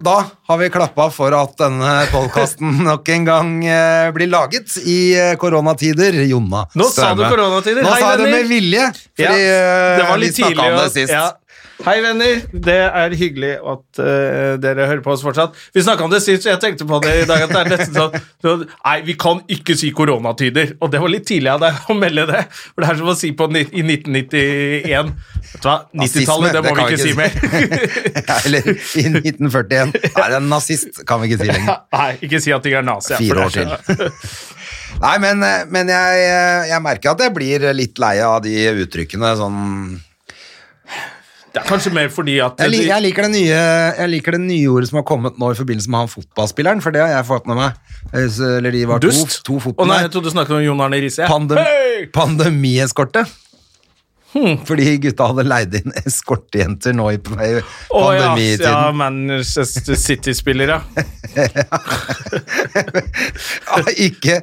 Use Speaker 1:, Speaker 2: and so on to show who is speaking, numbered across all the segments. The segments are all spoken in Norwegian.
Speaker 1: Da har vi klappa for at denne podkasten nok en gang eh, blir laget i eh, koronatider. Jonna
Speaker 2: Nå sa du
Speaker 1: Støme.
Speaker 2: koronatider.
Speaker 1: Nå
Speaker 2: Hei,
Speaker 1: sa jeg det
Speaker 2: venner.
Speaker 1: med vilje, fordi
Speaker 2: Ja,
Speaker 1: eh,
Speaker 2: det var
Speaker 1: vi
Speaker 2: litt
Speaker 1: snakka om
Speaker 2: tidlig
Speaker 1: det
Speaker 2: å-
Speaker 1: sist.
Speaker 2: ja. Hei, venner. Det er hyggelig at eh, dere hører på oss fortsatt. Vi snakka om det sist, og jeg tenkte på det i dag. at det er nesten sånn, så- Nei, vi kan ikke si koronatider. Og det var litt tidlig av deg å melde det. For det er som å si på ni i 1991 Vet du hva, 90-tallet, det må vi
Speaker 1: Nazisme,
Speaker 2: ikke si mer.
Speaker 1: Eller i 1941. Er det en nazist? Kan vi ikke si lenger.
Speaker 2: Nei, ikke si at ting er nazi. ja, for
Speaker 1: Fire år
Speaker 2: det er
Speaker 1: til.
Speaker 2: så-
Speaker 1: Nei, men, eh, men jeg, eh, jeg merker at jeg blir litt lei av de uttrykkene sånn
Speaker 2: Det er kanskje mer fordi at
Speaker 1: Jeg, li
Speaker 2: de-
Speaker 1: jeg, liker det nye, jeg liker det nye ordet som har kommet nå i forbindelse med han fotballspilleren, for det har jeg fått med meg. Eh, så- Eller de var
Speaker 2: Dust? Å nei,
Speaker 1: to, to
Speaker 2: jeg
Speaker 1: fotballspillere.
Speaker 2: trodde du snakket om Jon Arne Riise.
Speaker 1: Pandem
Speaker 2: Hei!
Speaker 1: Pandemieskorte.
Speaker 2: Hmm.
Speaker 1: Fordi gutta hadde leid inn eskortejenter nå i p- i
Speaker 2: Å ja,
Speaker 1: pandemitiden.
Speaker 2: ja, Manchester City-spillere.
Speaker 1: Ja, ikke,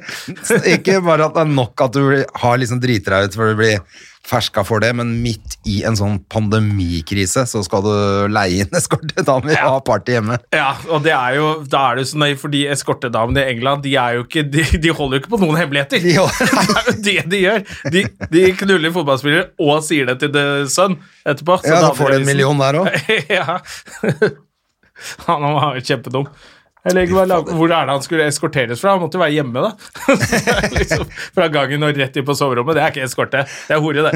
Speaker 1: ikke bare at det er nok at du blir- har liksom driter deg ut for du blir ferska for det, men midt i en sånn pandemikrise så skal du leie inn eskorte. Da må vi ha party hjemme.
Speaker 2: Ja, og det er jo, da er det jo så nøye, fordi eskortedamene i England de, er jo ikke, de, de holder jo ikke på noen hemmeligheter.
Speaker 1: De
Speaker 2: det er
Speaker 1: holder-
Speaker 2: jo det de gjør. De, de knuller fotballspillere og sier det til The Sun etterpå. så
Speaker 1: Ja, da
Speaker 2: hadde
Speaker 1: får du en
Speaker 2: liksom-
Speaker 1: million der òg.
Speaker 2: ja. Han var jo kjempedum. Eller, ikke bare lag- hvor er det han skulle eskorteres fra? Han måtte jo være hjemme, da. Så det er liksom, fra gangen og rett inn på soverommet. Det er ikke eskorte, det er hore, det.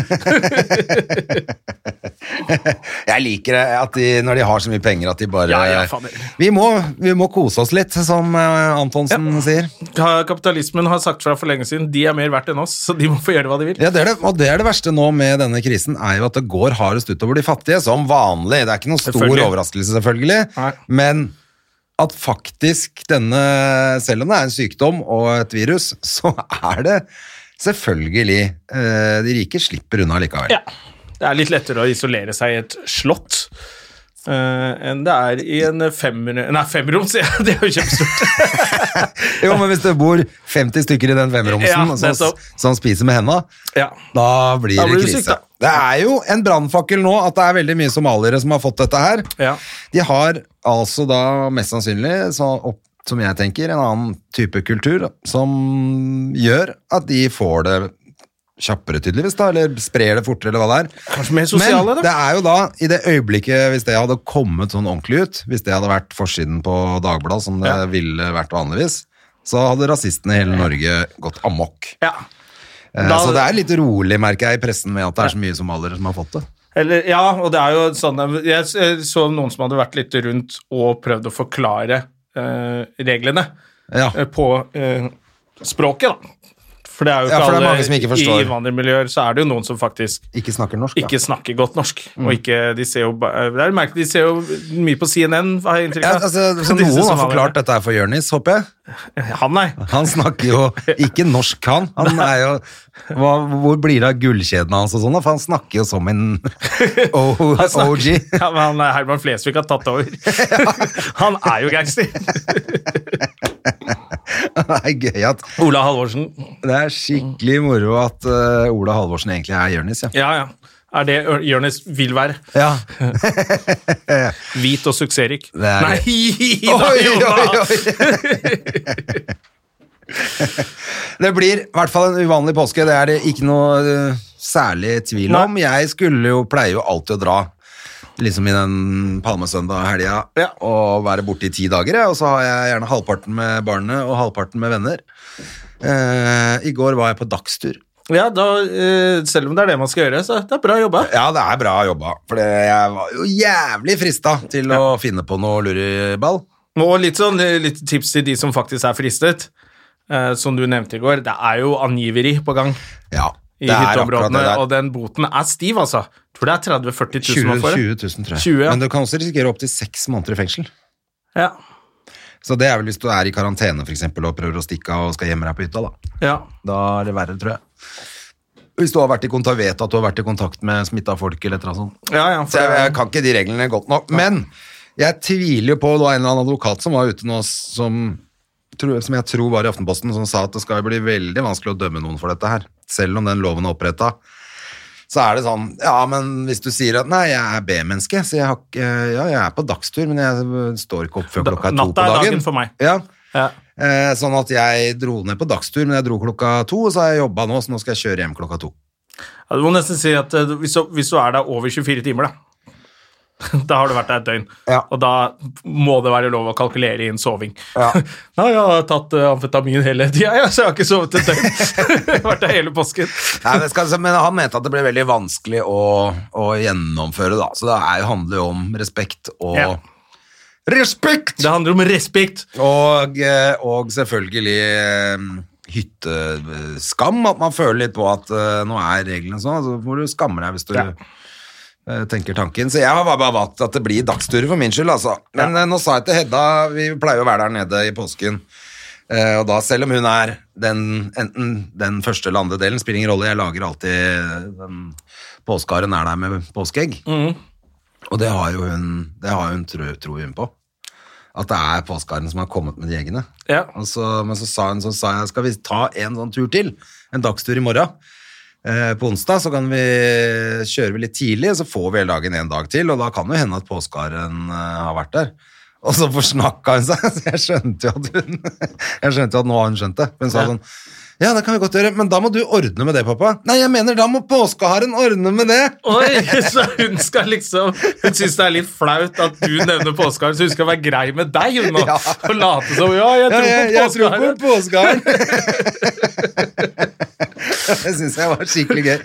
Speaker 1: Jeg liker det at de, når de har så mye penger at de bare
Speaker 2: Ja, ja, fader.
Speaker 1: vi, må, vi må kose oss litt, som eh, Antonsen sier.
Speaker 2: Ka- Kapitalismen har sagt fra for lenge siden de er mer verdt enn oss, så de må få gjøre hva de vil.
Speaker 1: Ja, det er det, og det er det verste nå med denne krisen, er jo at det går hardest utover de fattige, som vanlig. Det er ikke noen stor
Speaker 2: Selvfølgelig.
Speaker 1: overraskelse, selvfølgelig,
Speaker 2: Nei.
Speaker 1: men at faktisk denne, selv om det er en sykdom og et virus, så er det selvfølgelig eh, De rike slipper unna likevel.
Speaker 2: Ja. Det er litt lettere å isolere seg i et slott eh, enn det er i en femrom Nei, femrom, sier jeg! Det er jo kjempestort.
Speaker 1: Jo, men hvis det bor 50 stykker i den
Speaker 2: Ja,
Speaker 1: femromsen som,
Speaker 2: nettopp.
Speaker 1: som spiser med henda,
Speaker 2: Ja.
Speaker 1: Da blir
Speaker 2: Da blir du
Speaker 1: det
Speaker 2: syk,
Speaker 1: krise.
Speaker 2: da.
Speaker 1: Det er jo en brannfakkel nå at det er veldig mye somaliere som har fått dette her.
Speaker 2: Ja.
Speaker 1: De har altså da mest sannsynlig, så opp, som jeg tenker, en annen type kultur som gjør at de får det kjappere, tydeligvis, da, eller sprer det fortere, eller hva det er.
Speaker 2: Kanskje mer sosiale,
Speaker 1: Men det
Speaker 2: da.
Speaker 1: er jo da, i det øyeblikket, hvis det hadde kommet sånn ordentlig ut, hvis det hadde vært forsiden på Dagbladet som det
Speaker 2: Ja.
Speaker 1: ville vært vanligvis, så hadde rasistene i hele Norge gått amok.
Speaker 2: Ja.
Speaker 1: Eh,
Speaker 2: Da-
Speaker 1: så det er litt rolig, merker jeg, i pressen med at det er så mye somaliere som har fått det.
Speaker 2: Eller, ja, og det er jo sånn Jeg s- jeg så noen som hadde vært litt rundt og prøvd å forklare eh, reglene
Speaker 1: Ja.
Speaker 2: eh, på eh, språket, da. For det er jo
Speaker 1: Ja,
Speaker 2: ikke
Speaker 1: for det er mange
Speaker 2: alle
Speaker 1: som ikke
Speaker 2: I
Speaker 1: forstår.
Speaker 2: innvandrermiljøer så er det jo noen som faktisk
Speaker 1: Ikke snakker norsk,
Speaker 2: ikke snakker godt norsk. Og ikke, de ser jo, ba- det er jo merkelig, de ser jo mye på CNN, har jeg inntrykk
Speaker 1: Ja,
Speaker 2: av.
Speaker 1: altså, så
Speaker 2: Disse
Speaker 1: noen har
Speaker 2: somalierne.
Speaker 1: forklart dette her for Jørnis, håper jeg.
Speaker 2: Han, nei.
Speaker 1: Han snakker jo ikke norsk, han. han er jo, hva, hvor blir det av gullkjedene hans og sånn? da? For han snakker jo som en O- OG.
Speaker 2: Ja, men han er Herman Flesvig har tatt over. Han er jo gangster.
Speaker 1: Det er gøy at
Speaker 2: Ola Halvorsen.
Speaker 1: Det er skikkelig moro at eh, Ola Halvorsen egentlig er Jørnis, ja.
Speaker 2: Ja, ja. Er det Ør- Jonis vil være?
Speaker 1: Ja,
Speaker 2: Hvit og suksessrik.
Speaker 1: det er
Speaker 2: Nei!
Speaker 1: Oi,
Speaker 2: nei, Jonna.
Speaker 1: oi, oi. Det blir i hvert fall en uvanlig påske, det er det ikke noe eh, særlig tvil
Speaker 2: Nei.
Speaker 1: om. Jeg skulle jo, pleier jo alltid å dra liksom i den palmesøndag-helga
Speaker 2: Ja.
Speaker 1: og være borte i ti dager, jeg, og så har jeg gjerne halvparten med barnet og halvparten med venner. Eh, I går var jeg på dagstur.
Speaker 2: Ja, da, eh, selv om det er det man skal gjøre, så det er bra jobba.
Speaker 1: Ja, det er bra jobba, for det- jeg var jo jævlig frista til å finne på noe luriball.
Speaker 2: Og litt, sånn, eh, litt tips til de som faktisk er fristet. Eh, som du nevnte i går, det er jo angiveri på gang
Speaker 1: Ja,
Speaker 2: i
Speaker 1: det er akkurat det
Speaker 2: hytteområdene,
Speaker 1: der.
Speaker 2: og den boten er stiv, altså. Tror det er 30 000-40 000 man
Speaker 1: 20,
Speaker 2: får.
Speaker 1: 20 000, tror jeg.
Speaker 2: 20, ja.
Speaker 1: Men du kan også risikere opptil seks måneder i fengsel.
Speaker 2: Ja.
Speaker 1: Så det er vel hvis du er i karantene for eksempel, og prøver å stikke av og skal gjemme deg på hytta. Da
Speaker 2: ja.
Speaker 1: Da er det verre, tror jeg. Hvis du har vært i kontakt, vet at du har vært i kontakt med smitta folk. eller et eller annet sånt.
Speaker 2: ja, ja for,
Speaker 1: Så jeg, jeg kan ikke de reglene godt nok. Men jeg tviler jo på det var en eller annen advokat som var ute nå, som, tro- som jeg tror var i Aftenposten, som sa at det skal bli veldig vanskelig å dømme noen for dette her. Selv om den loven er oppretta. Så er det sånn Ja, men hvis du sier at nei, jeg er B-menneske, så jeg har ikke Ja, jeg er på dagstur, men jeg står ikke opp før
Speaker 2: Da-
Speaker 1: klokka er to
Speaker 2: natta
Speaker 1: på
Speaker 2: er
Speaker 1: dagen.
Speaker 2: dagen for meg.
Speaker 1: Ja.
Speaker 2: ja.
Speaker 1: Eh, sånn at jeg dro ned på dagstur, men jeg dro klokka to, og så har jeg jobba nå, så nå skal jeg kjøre hjem klokka to.
Speaker 2: Ja, Du må nesten si at eh, hvis du, hvis du er der over 24 timer, da Da har du vært der et døgn,
Speaker 1: Ja.
Speaker 2: og da må det være lov å kalkulere inn soving.
Speaker 1: Ja.
Speaker 2: Nei, jeg har tatt eh, amfetamin hele tida, ja, så jeg har ikke sovet et døgn. Jeg har vært der hele påsken.
Speaker 1: Nei, men, skal, men han mente at det ble veldig vanskelig å, å gjennomføre, da. Så det er, handler jo om respekt og
Speaker 2: Ja.
Speaker 1: Respekt!
Speaker 2: Det handler om respekt.
Speaker 1: Og, eh, og selvfølgelig eh, hytteskam. At man føler litt på at eh, nå er reglene sånn, så må du skamme deg hvis du
Speaker 2: Ja.
Speaker 1: eh, tenker tanken. Så jeg har bare bare valgt at det blir dagsturer for min skyld, altså. Men eh, nå sa jeg til Hedda, vi pleier å være der nede i påsken. Eh, og da, selv om hun er den, enten den første eller andre delen, spiller ingen rolle, jeg lager alltid eh, den påskeharen er der med påskeegg. Og det har jo hun, det har hun tro, tror hun på. At det er påskeharen som har kommet med de eggene.
Speaker 2: Ja.
Speaker 1: Og så, men så sa hun så sa jeg, skal vi ta en sånn tur til, en dagstur i morgen. Eh, på onsdag så kan vi kjøre litt tidlig, så får vi hele dagen en dag til, og da kan det jo hende at påskeharen eh, har vært der. Og så forsnakka hun seg, så jeg skjønte jo at hun Jeg skjønte jo at nå har hun skjønt det. Hun sa
Speaker 2: Ja.
Speaker 1: sånn Ja, det kan vi godt gjøre, men da må du ordne med det, pappa. Nei, jeg mener, da må påskeharen ordne med det!
Speaker 2: Oi, så hun skal liksom Hun syns det er litt flaut at du nevner påskeharen, så hun skal være grei med deg hun nå.
Speaker 1: Ja.
Speaker 2: Og late som Ja, jeg
Speaker 1: Ja,
Speaker 2: tror på
Speaker 1: jeg, jeg tror på
Speaker 2: påskeharen.
Speaker 1: påskeharen. det syns jeg var skikkelig gøy.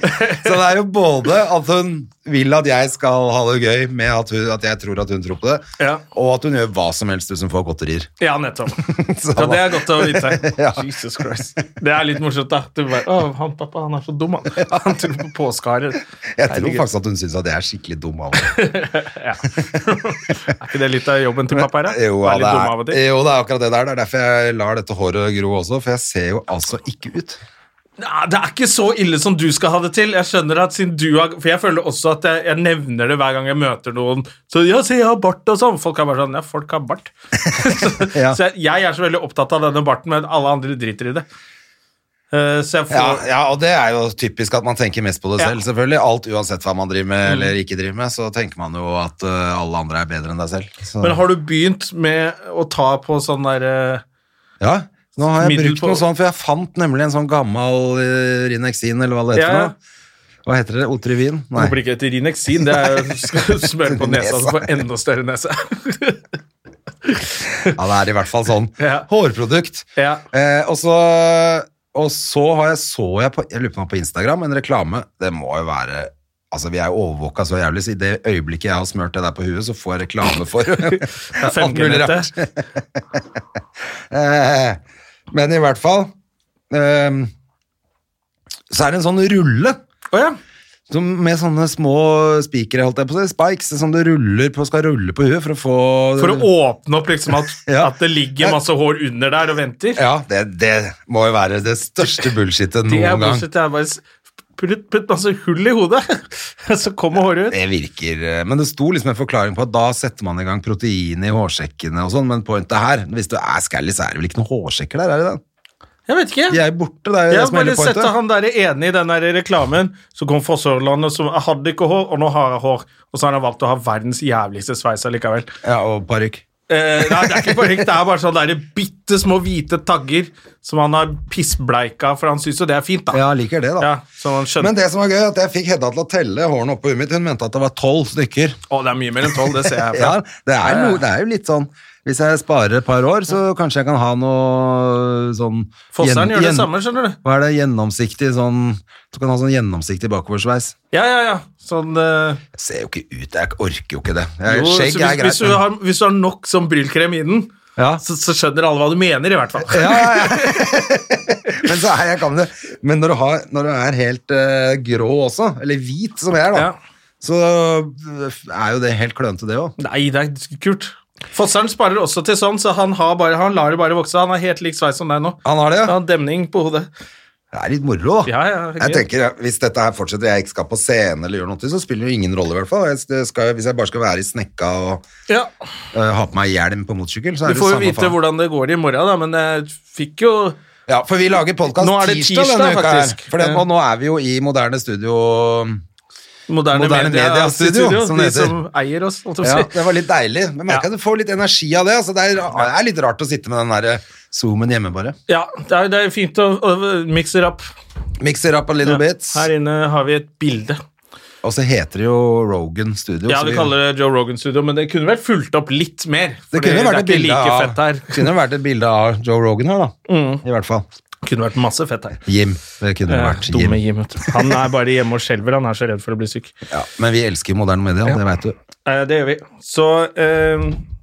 Speaker 1: Så det er jo både at hun vil at jeg skal ha det gøy med at, hun, at jeg tror at hun tror på det,
Speaker 2: Ja.
Speaker 1: og at hun gjør hva som helst hvis hun får godterier.
Speaker 2: Ja, nettopp. Ja,
Speaker 1: Så da-
Speaker 2: det er godt å vite.
Speaker 1: Ja.
Speaker 2: Jesus Christ. Det er litt morsomt, da. Du bare, å, han pappa han er så dum, han. Han tror på påskeharer.
Speaker 1: Jeg tror
Speaker 2: Herregud.
Speaker 1: faktisk at hun syns at jeg er skikkelig dum av henne.
Speaker 2: Er ikke det litt av jobben til pappa her, da?
Speaker 1: Jo,
Speaker 2: Være
Speaker 1: ja,
Speaker 2: litt dum av og
Speaker 1: det
Speaker 2: til.
Speaker 1: er, jo, det er akkurat det der. Det er derfor jeg lar dette håret gro også, for jeg ser jo altså ikke ut.
Speaker 2: Nei, Ah, det er ikke så ille som du skal ha det til. Jeg skjønner at siden du har For jeg føler også at jeg, jeg nevner det hver gang jeg møter noen. Så ja, se, jeg har bart og sånn. Folk er bare sånn Ja, folk har bart. så
Speaker 1: Ja.
Speaker 2: så jeg, jeg er så veldig opptatt av denne barten, men alle andre driter i det. Eh, så jeg får
Speaker 1: Ja, ja, og det er jo typisk at man tenker mest på det
Speaker 2: Ja. Mm.
Speaker 1: selv, selvfølgelig. Alt uansett hva man driver med eller ikke driver med, så tenker man jo at øh, alle andre er bedre enn deg selv. Så.
Speaker 2: Men har du begynt med å ta på sånn derre
Speaker 1: Ja, nå har jeg
Speaker 2: Middel
Speaker 1: brukt
Speaker 2: på-
Speaker 1: noe sånt, for jeg fant nemlig en sånn gammel øh, Rinexin, eller hva det heter
Speaker 2: Ja, ja.
Speaker 1: nå. Hva heter det? Otrivin?
Speaker 2: Nei.
Speaker 1: Nei.
Speaker 2: Håper ikke heter Rinexin. Det er jo skal du smøre på nesa, så får du enda større nese.
Speaker 1: Ja, det er i hvert fall sånn.
Speaker 2: Ja.
Speaker 1: Hårprodukt.
Speaker 2: ja.
Speaker 1: Eh, og så... Og så har jeg, så jeg på, jeg lurer på meg på Instagram, en reklame, det må jo være, altså vi er jo overvåket så jævlig, så i det øyeblikket jeg har smørt det der på huet, så får jeg reklame for alt mulig rart.
Speaker 2: 5G-nettet.
Speaker 1: Eh, men i hvert fall eh, Så er det en sånn rulle
Speaker 2: Å ja.
Speaker 1: som med sånne små spikere, holdt jeg på å si, spikes, som du ruller på, skal rulle på huet for å få
Speaker 2: For å åpne opp liksom at,
Speaker 1: Ja.
Speaker 2: at det ligger masse hår under der og venter.
Speaker 1: Ja, det, det må jo være det største bullshitet
Speaker 2: Det er
Speaker 1: noen gang.
Speaker 2: bullshit. Det er bare s- putt, putt masse hull i hodet, så kommer håret ut.
Speaker 1: Det virker eh, Men det sto liksom en forklaring på at da setter man i gang protein i hårsekkene og sånn, men pointet her Hvis du er skallig, så er det vel ikke noen hårsekker der, er det det?
Speaker 2: Jeg vet ikke.
Speaker 1: De er jo borte, det er jo
Speaker 2: Jeg
Speaker 1: det
Speaker 2: har
Speaker 1: som er
Speaker 2: bare
Speaker 1: hele
Speaker 2: sett
Speaker 1: pointet.
Speaker 2: at han der er enig i den der reklamen som kom fra Sørlandet, som hadde ikke hår, og nå har jeg hår. Og så har han valgt å ha verdens jævligste sveis allikevel.
Speaker 1: Ja, og parykk.
Speaker 2: Eh, nei, det er ikke parykk, det er bare sånne der bitte små hvite tagger som han har pissbleika, for han syns jo det er fint, da.
Speaker 1: Ja, liker det, da.
Speaker 2: Ja, så han skjønner.
Speaker 1: Men det som var gøy, er at jeg fikk Hedda til å telle hårene oppå huet mitt. Hun mente at det var tolv stykker.
Speaker 2: Å, det er mye mer enn tolv, det ser jeg
Speaker 1: Ja,
Speaker 2: herfra.
Speaker 1: det er, noe- det er jo litt sånn Hvis jeg sparer et par år, så kanskje jeg kan ha noe sånn
Speaker 2: Fosseren
Speaker 1: gjen-
Speaker 2: gjør det
Speaker 1: gjen-
Speaker 2: samme, skjønner du.
Speaker 1: Hva er det? Gjennomsiktig sånn Du kan ha sånn gjennomsiktig bakoversveis.
Speaker 2: Ja, ja, ja. Sånn eh,
Speaker 1: Jeg ser jo ikke ut, jeg orker jo ikke det. Jeg,
Speaker 2: jo, så hvis,
Speaker 1: skjegg er greit.
Speaker 2: hvis, du
Speaker 1: men-
Speaker 2: har, hvis du har nok sånn brylkrem i den,
Speaker 1: ja.
Speaker 2: så, så skjønner alle hva du mener, i hvert fall.
Speaker 1: Ja, ja, ja. Men så er jeg kan det. Men når du, har, når du er helt eh, grå også, eller hvit som jeg er, da,
Speaker 2: Ja.
Speaker 1: så eh, er jo det helt klønete, det òg.
Speaker 2: Nei, det er kult. Fosseren sparer også til sånn, så han, har bare, han lar det bare vokse. Han er helt lik sveis som deg nå.
Speaker 1: Han har det,
Speaker 2: Han
Speaker 1: ja.
Speaker 2: har demning på hodet.
Speaker 1: Det er litt moro, da.
Speaker 2: Ja, ja,
Speaker 1: Jeg tenker, ja, Hvis dette her fortsetter, jeg ikke skal på scene eller gjøre noe til, så spiller det jo ingen rolle, i hvert fall. Jeg det skal, hvis jeg bare skal være i snekka og
Speaker 2: Ja.
Speaker 1: øh, ha på meg hjelm på motorsykkel, så
Speaker 2: Du
Speaker 1: er det
Speaker 2: får jo
Speaker 1: samme
Speaker 2: vite
Speaker 1: faen.
Speaker 2: hvordan det går i morgen, da, men jeg fikk jo
Speaker 1: Ja, for vi lager podkast
Speaker 2: Nå er
Speaker 1: tirsdag,
Speaker 2: det tirsdag,
Speaker 1: denne uka her.
Speaker 2: faktisk.
Speaker 1: For det,
Speaker 2: Ja.
Speaker 1: og nå er vi jo i moderne studio.
Speaker 2: moderne,
Speaker 1: Moderne Media Studio, som det
Speaker 2: de
Speaker 1: heter.
Speaker 2: som eier oss. holdt jeg
Speaker 1: Ja,
Speaker 2: på å si.
Speaker 1: det var litt deilig. Men merker
Speaker 2: Ja.
Speaker 1: at du får litt energi av det. Altså, det, er, det er litt rart å sitte med den der øh, zoomen hjemme, bare.
Speaker 2: Ja, det er, det er fint å, å mikse det opp.
Speaker 1: Mixer up a little bit.
Speaker 2: Her inne har vi et bilde.
Speaker 1: Og så heter det jo Rogan Studio.
Speaker 2: Ja,
Speaker 1: så
Speaker 2: vi kaller det Joe Rogan Studio, men det kunne vært fulgt opp litt mer.
Speaker 1: det
Speaker 2: fordi
Speaker 1: kunne jo vært
Speaker 2: er
Speaker 1: et
Speaker 2: ikke
Speaker 1: bilde
Speaker 2: like
Speaker 1: av-
Speaker 2: fett her. Mm.
Speaker 1: kunne jo vært et bilde av Joe Rogan her, da. I hvert fall.
Speaker 2: Det kunne vært masse fett her.
Speaker 1: Jim. Det kunne jo
Speaker 2: Eh,
Speaker 1: vært Jim.
Speaker 2: Dumme Jim. vet du. Han er bare hjemme og skjelver. Han er så redd for å bli syk.
Speaker 1: Ja, men vi elsker jo moderne media, det veit du.
Speaker 2: Eh, det gjør vi. Så eh,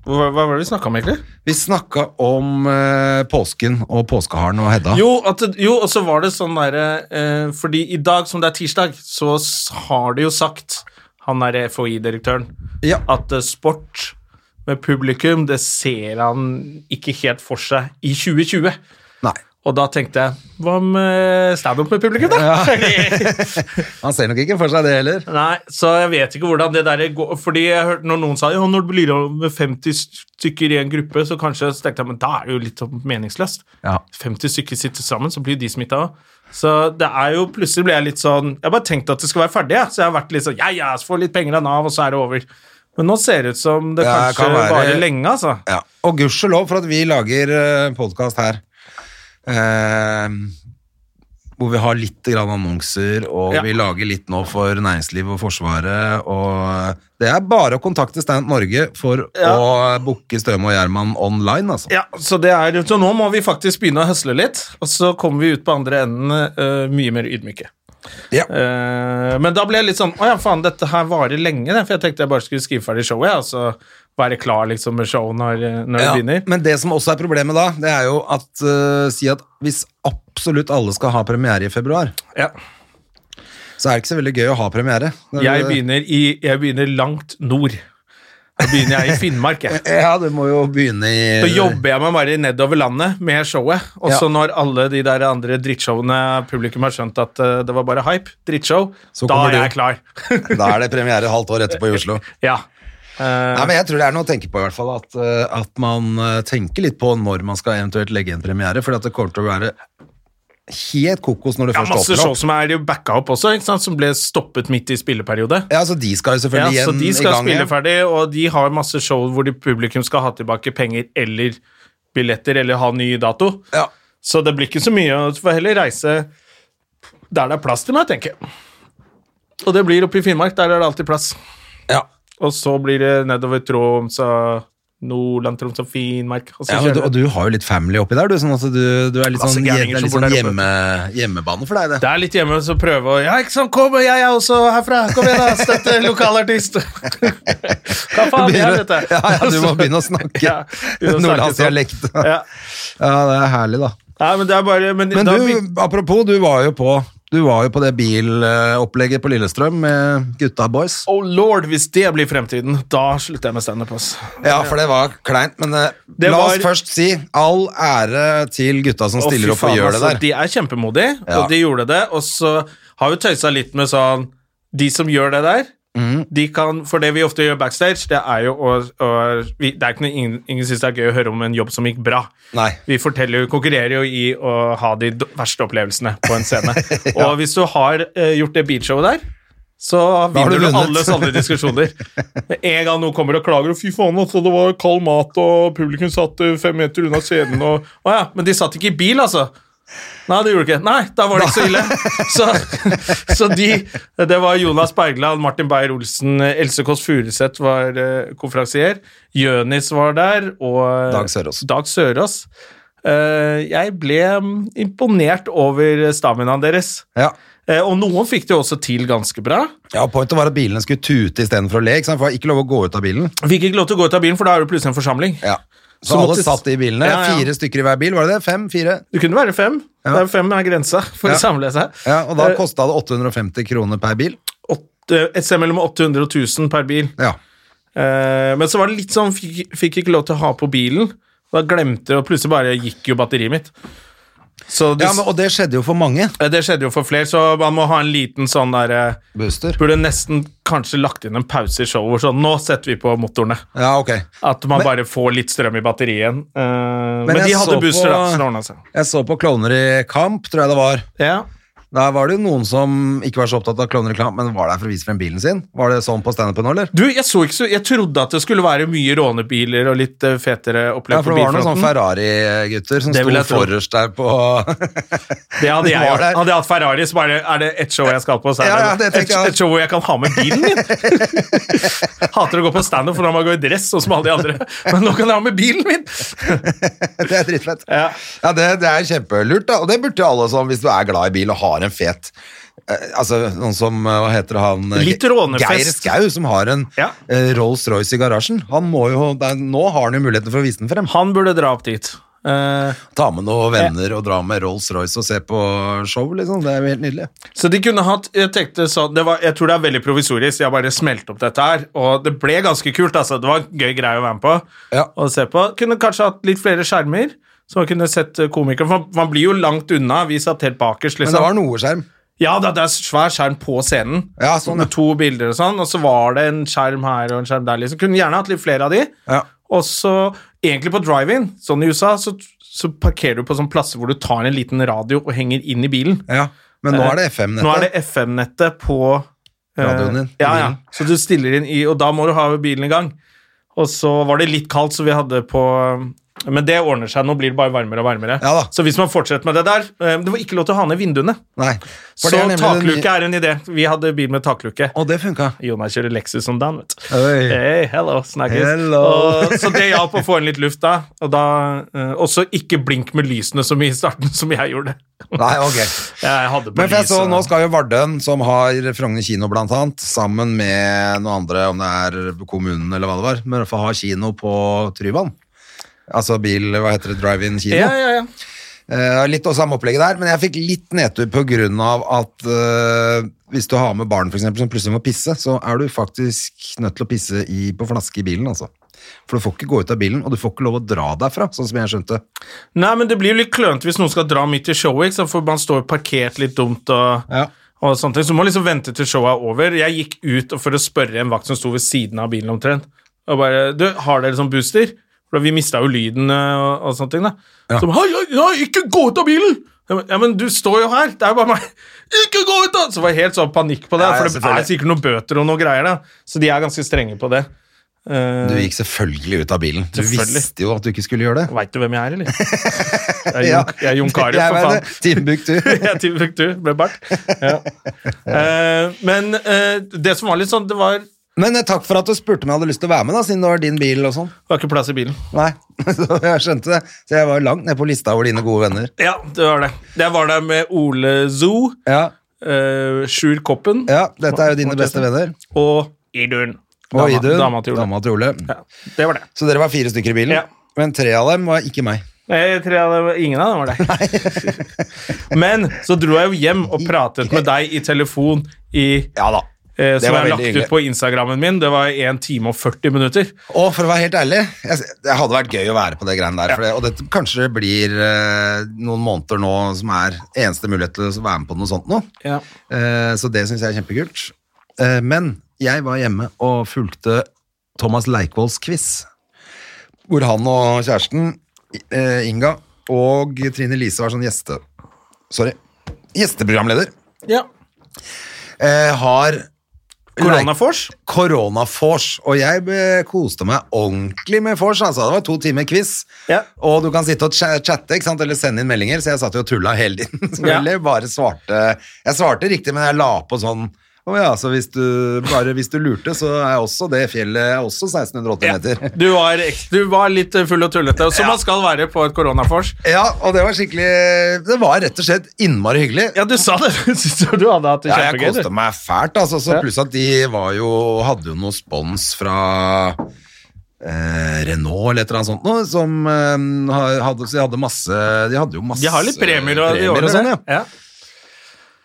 Speaker 2: hva, hva var det vi snakka om, egentlig?
Speaker 1: Vi snakka om eh, påsken og påskeharen og Hedda.
Speaker 2: Jo, at, jo, og så var det sånn derre eh, Fordi i dag, som det er tirsdag, så s- har de jo sagt, han derre FHI-direktøren,
Speaker 1: Ja.
Speaker 2: at eh, sport med publikum, det ser han ikke helt for seg i 2020.
Speaker 1: Nei.
Speaker 2: Og da tenkte jeg Hva med standup med publikum, da?
Speaker 1: Han ser nok ikke for seg det heller.
Speaker 2: Nei, så jeg vet ikke hvordan det der går Fordi jeg hørte når noen sa ja, når det blir av med 50 stykker i en gruppe, så kanskje så tenkte jeg, men da er det jo litt sånn meningsløst.
Speaker 1: Ja.
Speaker 2: 50 stykker sitter sammen, så blir jo de smitta òg. Så det er jo plutselig ble jeg litt sånn Jeg har bare tenkt at det skal være ferdig, jeg. Så jeg har vært litt sånn ja, ja, så får jeg litt penger av Nav, og så er det over. Men nå ser det ut som det
Speaker 1: Ja, det
Speaker 2: kanskje
Speaker 1: kan være-
Speaker 2: varer lenge, altså.
Speaker 1: Ja. Og gudskjelov for at vi lager uh, podkast her. eh, hvor vi har litt grann annonser, og
Speaker 2: Ja.
Speaker 1: vi lager litt nå for næringsliv og Forsvaret. Og det er bare å kontakte Stand Norge for å booke Støme og Gjerman online, altså.
Speaker 2: Ja, så, det er, så nå må vi faktisk begynne å høsle litt, og så kommer vi ut på andre enden eh, mye mer ydmyke.
Speaker 1: Ja.
Speaker 2: Eh, men da ble jeg litt sånn Å ja, faen, dette her varer lenge, det», for jeg tenkte jeg bare skulle skrive ferdig showet, jeg, og så være klar liksom med showet når, når det
Speaker 1: Ja,
Speaker 2: begynner.
Speaker 1: Men det som også er problemet da, det er jo at eh, si at hvis absolutt alle skal ha premiere i februar,
Speaker 2: Ja.
Speaker 1: så er det ikke så veldig gøy å ha premiere. Det er-
Speaker 2: Jeg begynner, i, jeg begynner langt nord. Da begynner jeg i Finnmark, jeg.
Speaker 1: Ja, du må jo begynne i
Speaker 2: Så jobber jeg meg bare nedover landet med showet. Og så
Speaker 1: Ja.
Speaker 2: når alle de der andre drittshowene publikum har skjønt at eh, det var bare hype, drittshow,
Speaker 1: Så
Speaker 2: da
Speaker 1: kommer
Speaker 2: er
Speaker 1: du.
Speaker 2: jeg klar.
Speaker 1: Da er det premiere et halvt år etterpå i Oslo.
Speaker 2: ja. Eh,
Speaker 1: Nei, men Jeg tror det er noe å tenke på, i hvert fall. At, eh, at man eh, tenker litt på når man skal eventuelt legge en premiere. For det kommer til å være helt kokos når det
Speaker 2: Ja,
Speaker 1: først
Speaker 2: masse
Speaker 1: åpner
Speaker 2: show
Speaker 1: opp.
Speaker 2: som er jo backa opp også, ikke sant? som ble stoppet midt i spilleperiode.
Speaker 1: Ja, så de skal jo
Speaker 2: Ja,
Speaker 1: selvfølgelig
Speaker 2: så
Speaker 1: igjen
Speaker 2: de
Speaker 1: i
Speaker 2: skal
Speaker 1: gang.
Speaker 2: spille
Speaker 1: igjen.
Speaker 2: ferdig, og de har masse show hvor de publikum skal ha tilbake penger eller billetter eller ha ny dato.
Speaker 1: Ja.
Speaker 2: Så det blir ikke så mye. og Du får heller reise der det er plass til meg, tenker jeg. Og det blir oppe i Finnmark. Der er det alltid plass.
Speaker 1: Ja.
Speaker 2: Og så blir det nedover Troms og Nordland, Troms og Finnmark. Og så
Speaker 1: Ja, og, du,
Speaker 2: kjører
Speaker 1: og
Speaker 2: du.
Speaker 1: du har jo litt family oppi der, du. Sånn at du, du er litt
Speaker 2: Masse
Speaker 1: sånn,
Speaker 2: gærninger
Speaker 1: hjem- det er
Speaker 2: som
Speaker 1: litt
Speaker 2: bor
Speaker 1: sånn
Speaker 2: der
Speaker 1: hjemme, hjemmebane for deg, det.
Speaker 2: Det er litt hjemme å prøve å Ja, ikke sant, kom, jeg er også herfra. Kom igjen, da. Støtte lokalartist. Hva
Speaker 1: Du
Speaker 2: faen er
Speaker 1: begynner-
Speaker 2: dette?
Speaker 1: ja, ja, du må begynne å snakke
Speaker 2: Ja, begynne å snakke
Speaker 1: nordlandsdialekt.
Speaker 2: sånn. Ja.
Speaker 1: Ja, det er herlig, da.
Speaker 2: Nei, men det er bare Men,
Speaker 1: Men
Speaker 2: da,
Speaker 1: du, apropos, du var jo på, du var jo på det bilopplegget på Lillestrøm med gutta boys.
Speaker 2: Oh lord, hvis det blir fremtiden, da slutter jeg med standup. ass.
Speaker 1: Ja, for det var kleint, men eh,
Speaker 2: Det
Speaker 1: la
Speaker 2: var-
Speaker 1: oss først si all ære til gutta som
Speaker 2: Å, fy
Speaker 1: stiller opp
Speaker 2: faen,
Speaker 1: og gjør
Speaker 2: altså,
Speaker 1: det der.
Speaker 2: De er kjempemodige,
Speaker 1: Ja.
Speaker 2: og de gjorde det. Og så har vi tøysa litt med sånn De som gjør det der,
Speaker 1: Mm.
Speaker 2: de kan For det vi ofte gjør backstage, det er jo å, å vi, Det er ikke noe ingen, ingen syns det er gøy å høre om en jobb som gikk bra.
Speaker 1: Nei.
Speaker 2: Vi forteller jo, konkurrerer jo i å ha de d- verste opplevelsene på en scene. Og hvis du har eh, gjort det beatshowet der, så
Speaker 1: har du
Speaker 2: vinner du,
Speaker 1: vunnet.
Speaker 2: alle sånne diskusjoner. Med En gang noen kommer og klager og 'fy faen, altså, det var kald mat', og publikum satt eh, fem meter unna scenen og Å ja, men de satt ikke i bil, altså. Nei, det gjorde de ikke. Nei, da var det ikke så ille. Så, så de Det var Jonas Bergland, Martin Beyer-Olsen, Else Kåss Furuseth var eh, konferansier, Jønis var der, og eh,
Speaker 1: Dag Sørås.
Speaker 2: Dag Sørås. Eh, jeg ble mm, imponert over staminaen deres.
Speaker 1: Ja.
Speaker 2: Eh, og noen fikk det jo også til ganske bra.
Speaker 1: ja, pointet var at bilene skulle tute istedenfor å le. Ikke sant? For det var ikke lov å gå ut av bilen.
Speaker 2: Fikk ikke lov til å gå ut av bilen, for da er det plutselig en forsamling.
Speaker 1: Ja.
Speaker 2: Så
Speaker 1: Så, alle
Speaker 2: måtte-
Speaker 1: satt i bilene.
Speaker 2: Ja, ja.
Speaker 1: Fire stykker i hver bil, var det det? Fem? Fire?
Speaker 2: Det kunne være fem.
Speaker 1: Ja.
Speaker 2: Det er fem er grensa for
Speaker 1: Ja.
Speaker 2: å samle seg.
Speaker 1: Ja, og da
Speaker 2: Eh,
Speaker 1: kosta det 850 kroner per bil.
Speaker 2: åtte- Et sted mellom 800 og 1000 per bil.
Speaker 1: Ja.
Speaker 2: Eh, men så var det litt sånn Fikk, fikk ikke lov til å ha på bilen. Da glemte jeg, og plutselig bare gikk jo batteriet mitt. Så det,
Speaker 1: Ja, men, og det skjedde jo for mange.
Speaker 2: eh, det skjedde jo for flere, så man må ha en liten sånn derre
Speaker 1: Booster.
Speaker 2: Burde nesten kanskje lagt inn en pause i showet hvor sånn Nå setter vi på motorene.
Speaker 1: Ja, ok.
Speaker 2: At man
Speaker 1: Men-
Speaker 2: bare får litt strøm i batteriet. eh, men,
Speaker 1: jeg
Speaker 2: de hadde
Speaker 1: så
Speaker 2: booster,
Speaker 1: på-
Speaker 2: da, så det ordna seg.
Speaker 1: Jeg så på Klovner i kamp, tror jeg det var.
Speaker 2: Ja.
Speaker 1: Der var det jo noen som ikke var så opptatt av Klovner i kamp, men var der for å vise frem bilen sin. Var det sånn på standupen nå, eller?
Speaker 2: Du, jeg så ikke så Jeg trodde at det skulle være mye rånebiler og litt eh, fetere opplegg
Speaker 1: Ja, for
Speaker 2: på
Speaker 1: det var sånn
Speaker 2: bilfronten.
Speaker 1: noen sånne Ferrari-gutter som
Speaker 2: Det vil
Speaker 1: sto
Speaker 2: jeg tro.
Speaker 1: forrest der på
Speaker 2: Det hadde jeg
Speaker 1: var
Speaker 2: gjort.
Speaker 1: der.
Speaker 2: Hadde jeg hatt Ferrari, så bare er det ett show jeg skal på. Så er
Speaker 1: Ja, ja,
Speaker 2: det
Speaker 1: det tenker
Speaker 2: et,
Speaker 1: jeg.
Speaker 2: et show hvor jeg kan ha med bilen min. Hater å gå på standup, for da må jeg gå i dress, sånn som alle de andre. Men nå kan jeg ha med bilen min!
Speaker 1: Det er dritfett.
Speaker 2: Ja.
Speaker 1: Ja, det, det er kjempelurt, da. Og det burde jo alle som, hvis du er glad i bil og har en fet eh, Altså, noen som eh, Hva heter han? eh,
Speaker 2: Litt rånefest.
Speaker 1: Geir Skau, som har en
Speaker 2: Ja.
Speaker 1: eh, Rolls-Royce i garasjen. Han må jo, det er, nå har han jo muligheten for å vise den frem.
Speaker 2: Han burde dra opp dit. Eh,
Speaker 1: Ta med noen venner og dra med Rolls-Royce og se på show, liksom. Det er jo helt nydelig.
Speaker 2: Så de kunne hatt Jeg tenkte sånn det var, Jeg tror det er veldig provisorisk. Jeg bare smelte opp dette her, og det ble ganske kult. altså Det var en gøy greie å være med på.
Speaker 1: Ja.
Speaker 2: Og se på. Kunne kanskje hatt litt flere skjermer, så man kunne sett eh, komikere. For man, man blir jo langt unna. Vi satt helt bakerst.
Speaker 1: Men
Speaker 2: liksom.
Speaker 1: det var noe skjerm.
Speaker 2: Ja, det, det er svær skjerm på scenen.
Speaker 1: Ja, sånn, ja.
Speaker 2: Med to bilder og sånn, og så var det en skjerm her og en skjerm der. liksom. Kunne gjerne hatt litt flere av de.
Speaker 1: Ja.
Speaker 2: Og så, egentlig på drive-in, sånn i USA, så, så parkerer du på sånne plasser hvor du tar en liten radio og henger inn i bilen.
Speaker 1: Ja. Men nå er det
Speaker 2: Eh,
Speaker 1: FM-nettet.
Speaker 2: Nå er det FM-nettet på eh,
Speaker 1: Radioen din, i
Speaker 2: Ja, ja.
Speaker 1: bilen.
Speaker 2: Så du stiller inn i, og da må du ha bilen i gang. Og så var det litt kaldt, så vi hadde på Men det ordner seg, nå blir det bare varmere og varmere.
Speaker 1: Ja da.
Speaker 2: Så hvis man fortsetter med det der eh, Det var ikke lov til å ha ned vinduene.
Speaker 1: Nei.
Speaker 2: Så
Speaker 1: for det er nemlig den nye-
Speaker 2: takluke er en idé. Vi hadde bil med takluke.
Speaker 1: Og det Eh. funka.
Speaker 2: Jonas kjører Lexus om dagen, vet du.
Speaker 1: Oi.
Speaker 2: Hey, hello, snakkes.
Speaker 1: Hello.
Speaker 2: Og, så det hjalp å få inn litt luft da. Og da eh, også ikke blink med lysene så mye i starten som jeg gjorde.
Speaker 1: Nei, ok.
Speaker 2: Jeg hadde på
Speaker 1: Men for jeg så,
Speaker 2: lyset.
Speaker 1: nå skal jo Vardøen, som har Frogner kino blant annet, sammen med noen andre, om det er kommunen eller hva det var, men i hvert fall ha kino på Tryvann. Altså bil, hva heter det, drive-in kino.
Speaker 2: ja, ja, ja.
Speaker 1: Eh, litt av samme opplegget der, men jeg fikk litt nedtur på grunn av at eh, hvis du har med barn for eksempel, som plutselig må pisse, så er du faktisk nødt til å pisse i, på flaske i bilen, altså. For du får ikke gå ut av bilen, og du får ikke lov å dra derfra, sånn som jeg skjønte.
Speaker 2: Nei, men det blir jo litt klønete hvis noen skal dra midt i showet, ikke sant? for man står parkert litt dumt og,
Speaker 1: Ja.
Speaker 2: og sånne ting. Så må man liksom vente til showet er over. Jeg gikk ut og for å spørre en vakt som sto ved siden av bilen omtrent, og bare Du, har dere sånn booster? For vi mista jo lyden eh, og, og sånne ting, da. Som Hei, hei, hei, ikke gå ut av bilen! Jeg ba, Ja, men du står jo her! Det er jo bare meg! Ikke gå ut, da! Så det var helt sånn panikk på det,
Speaker 1: Ja, ja,
Speaker 2: for det er
Speaker 1: selvfølgelig.
Speaker 2: sikkert noen bøter og noen greier, da. Så de er ganske strenge på det. Eh,
Speaker 1: Du gikk selvfølgelig ut av bilen. Du
Speaker 2: Selvfølgelig.
Speaker 1: visste jo at du ikke skulle gjøre det.
Speaker 2: Veit du hvem jeg er, eller? Jeg er Jon, jeg er Jon Carew,
Speaker 1: Jeg
Speaker 2: for
Speaker 1: mener,
Speaker 2: faen.
Speaker 1: Timbuktu.
Speaker 2: Jeg tilbrukte du, ble bart. Ja. Eh, men eh, det som var litt sånn, det var, det
Speaker 1: Men eh, takk for at du spurte om jeg hadde lyst til å være med, da, siden det var din bil og sånn.
Speaker 2: var ikke plass i bilen.
Speaker 1: Nei, så jeg skjønte det. Så jeg var langt ned på lista over dine gode venner.
Speaker 2: Ja, det var det. Jeg var der med Ole Zoo,
Speaker 1: Ja,
Speaker 2: eh, Sjur Koppen
Speaker 1: ja dette er jo dine beste venner.
Speaker 2: og Idun.
Speaker 1: Og
Speaker 2: Dama-
Speaker 1: Idun,
Speaker 2: Dama til Ole.
Speaker 1: dama til Ole.
Speaker 2: Ja, det var det.
Speaker 1: Så dere var fire stykker i bilen?
Speaker 2: Ja.
Speaker 1: Men tre av dem var ikke meg.
Speaker 2: Jeg tror jeg, det var- ingen av dem var deg. Men så dro jeg jo hjem og pratet med deg i telefon i
Speaker 1: Ja da.
Speaker 2: eh,
Speaker 1: Det
Speaker 2: Som jeg
Speaker 1: var
Speaker 2: har
Speaker 1: veldig
Speaker 2: lagt
Speaker 1: hyggelig.
Speaker 2: ut på Instagrammen min. Det var 1 time og 40 minutter.
Speaker 1: Og for å være helt ærlig, jeg, det hadde vært gøy å være på det greiene der. For det, og det, kanskje det blir eh, noen måneder nå som er eneste mulighet til å være med på noe sånt nå.
Speaker 2: Ja.
Speaker 1: Eh, så det syns jeg er kjempekult. Eh, men jeg var hjemme og fulgte Thomas Leikvolls quiz, hvor han og kjæresten, eh, Inga, og Trine Lise var sånn gjeste... Sorry. Gjesteprogramleder.
Speaker 2: ja.
Speaker 1: Eh, har
Speaker 2: Koronafors.
Speaker 1: Koronafors, og jeg eh, koste meg ordentlig med vors. Altså. Det var to timer quiz,
Speaker 2: Ja.
Speaker 1: og du kan sitte og cha- chatte ikke sant? eller sende inn meldinger, så jeg satt jo og tulla hele tiden. selvfølgelig. Bare svarte Jeg svarte riktig, men jeg la på sånn Å ja, så hvis du, bare hvis du lurte, så er også det fjellet er også 1680 meter.
Speaker 2: Du var, ek- du var litt eh, full og tullete, som man skal være på et koronafors.
Speaker 1: Ja, og det var skikkelig Det var rett og slett innmari hyggelig.
Speaker 2: Ja, du sa det! Syns du du hadde hatt det
Speaker 1: Ja, jeg
Speaker 2: kjempegøy?
Speaker 1: koste
Speaker 2: du?
Speaker 1: meg fælt, altså. Så
Speaker 2: Ja.
Speaker 1: pluss at de var jo, hadde jo noe spons fra eh, Renault eller et eller annet sånt noe, som eh, hadde, så de hadde masse De hadde jo masse
Speaker 2: De har litt premier og,
Speaker 1: premier
Speaker 2: de ordner
Speaker 1: og sånn,
Speaker 2: det.
Speaker 1: ja.
Speaker 2: Ja.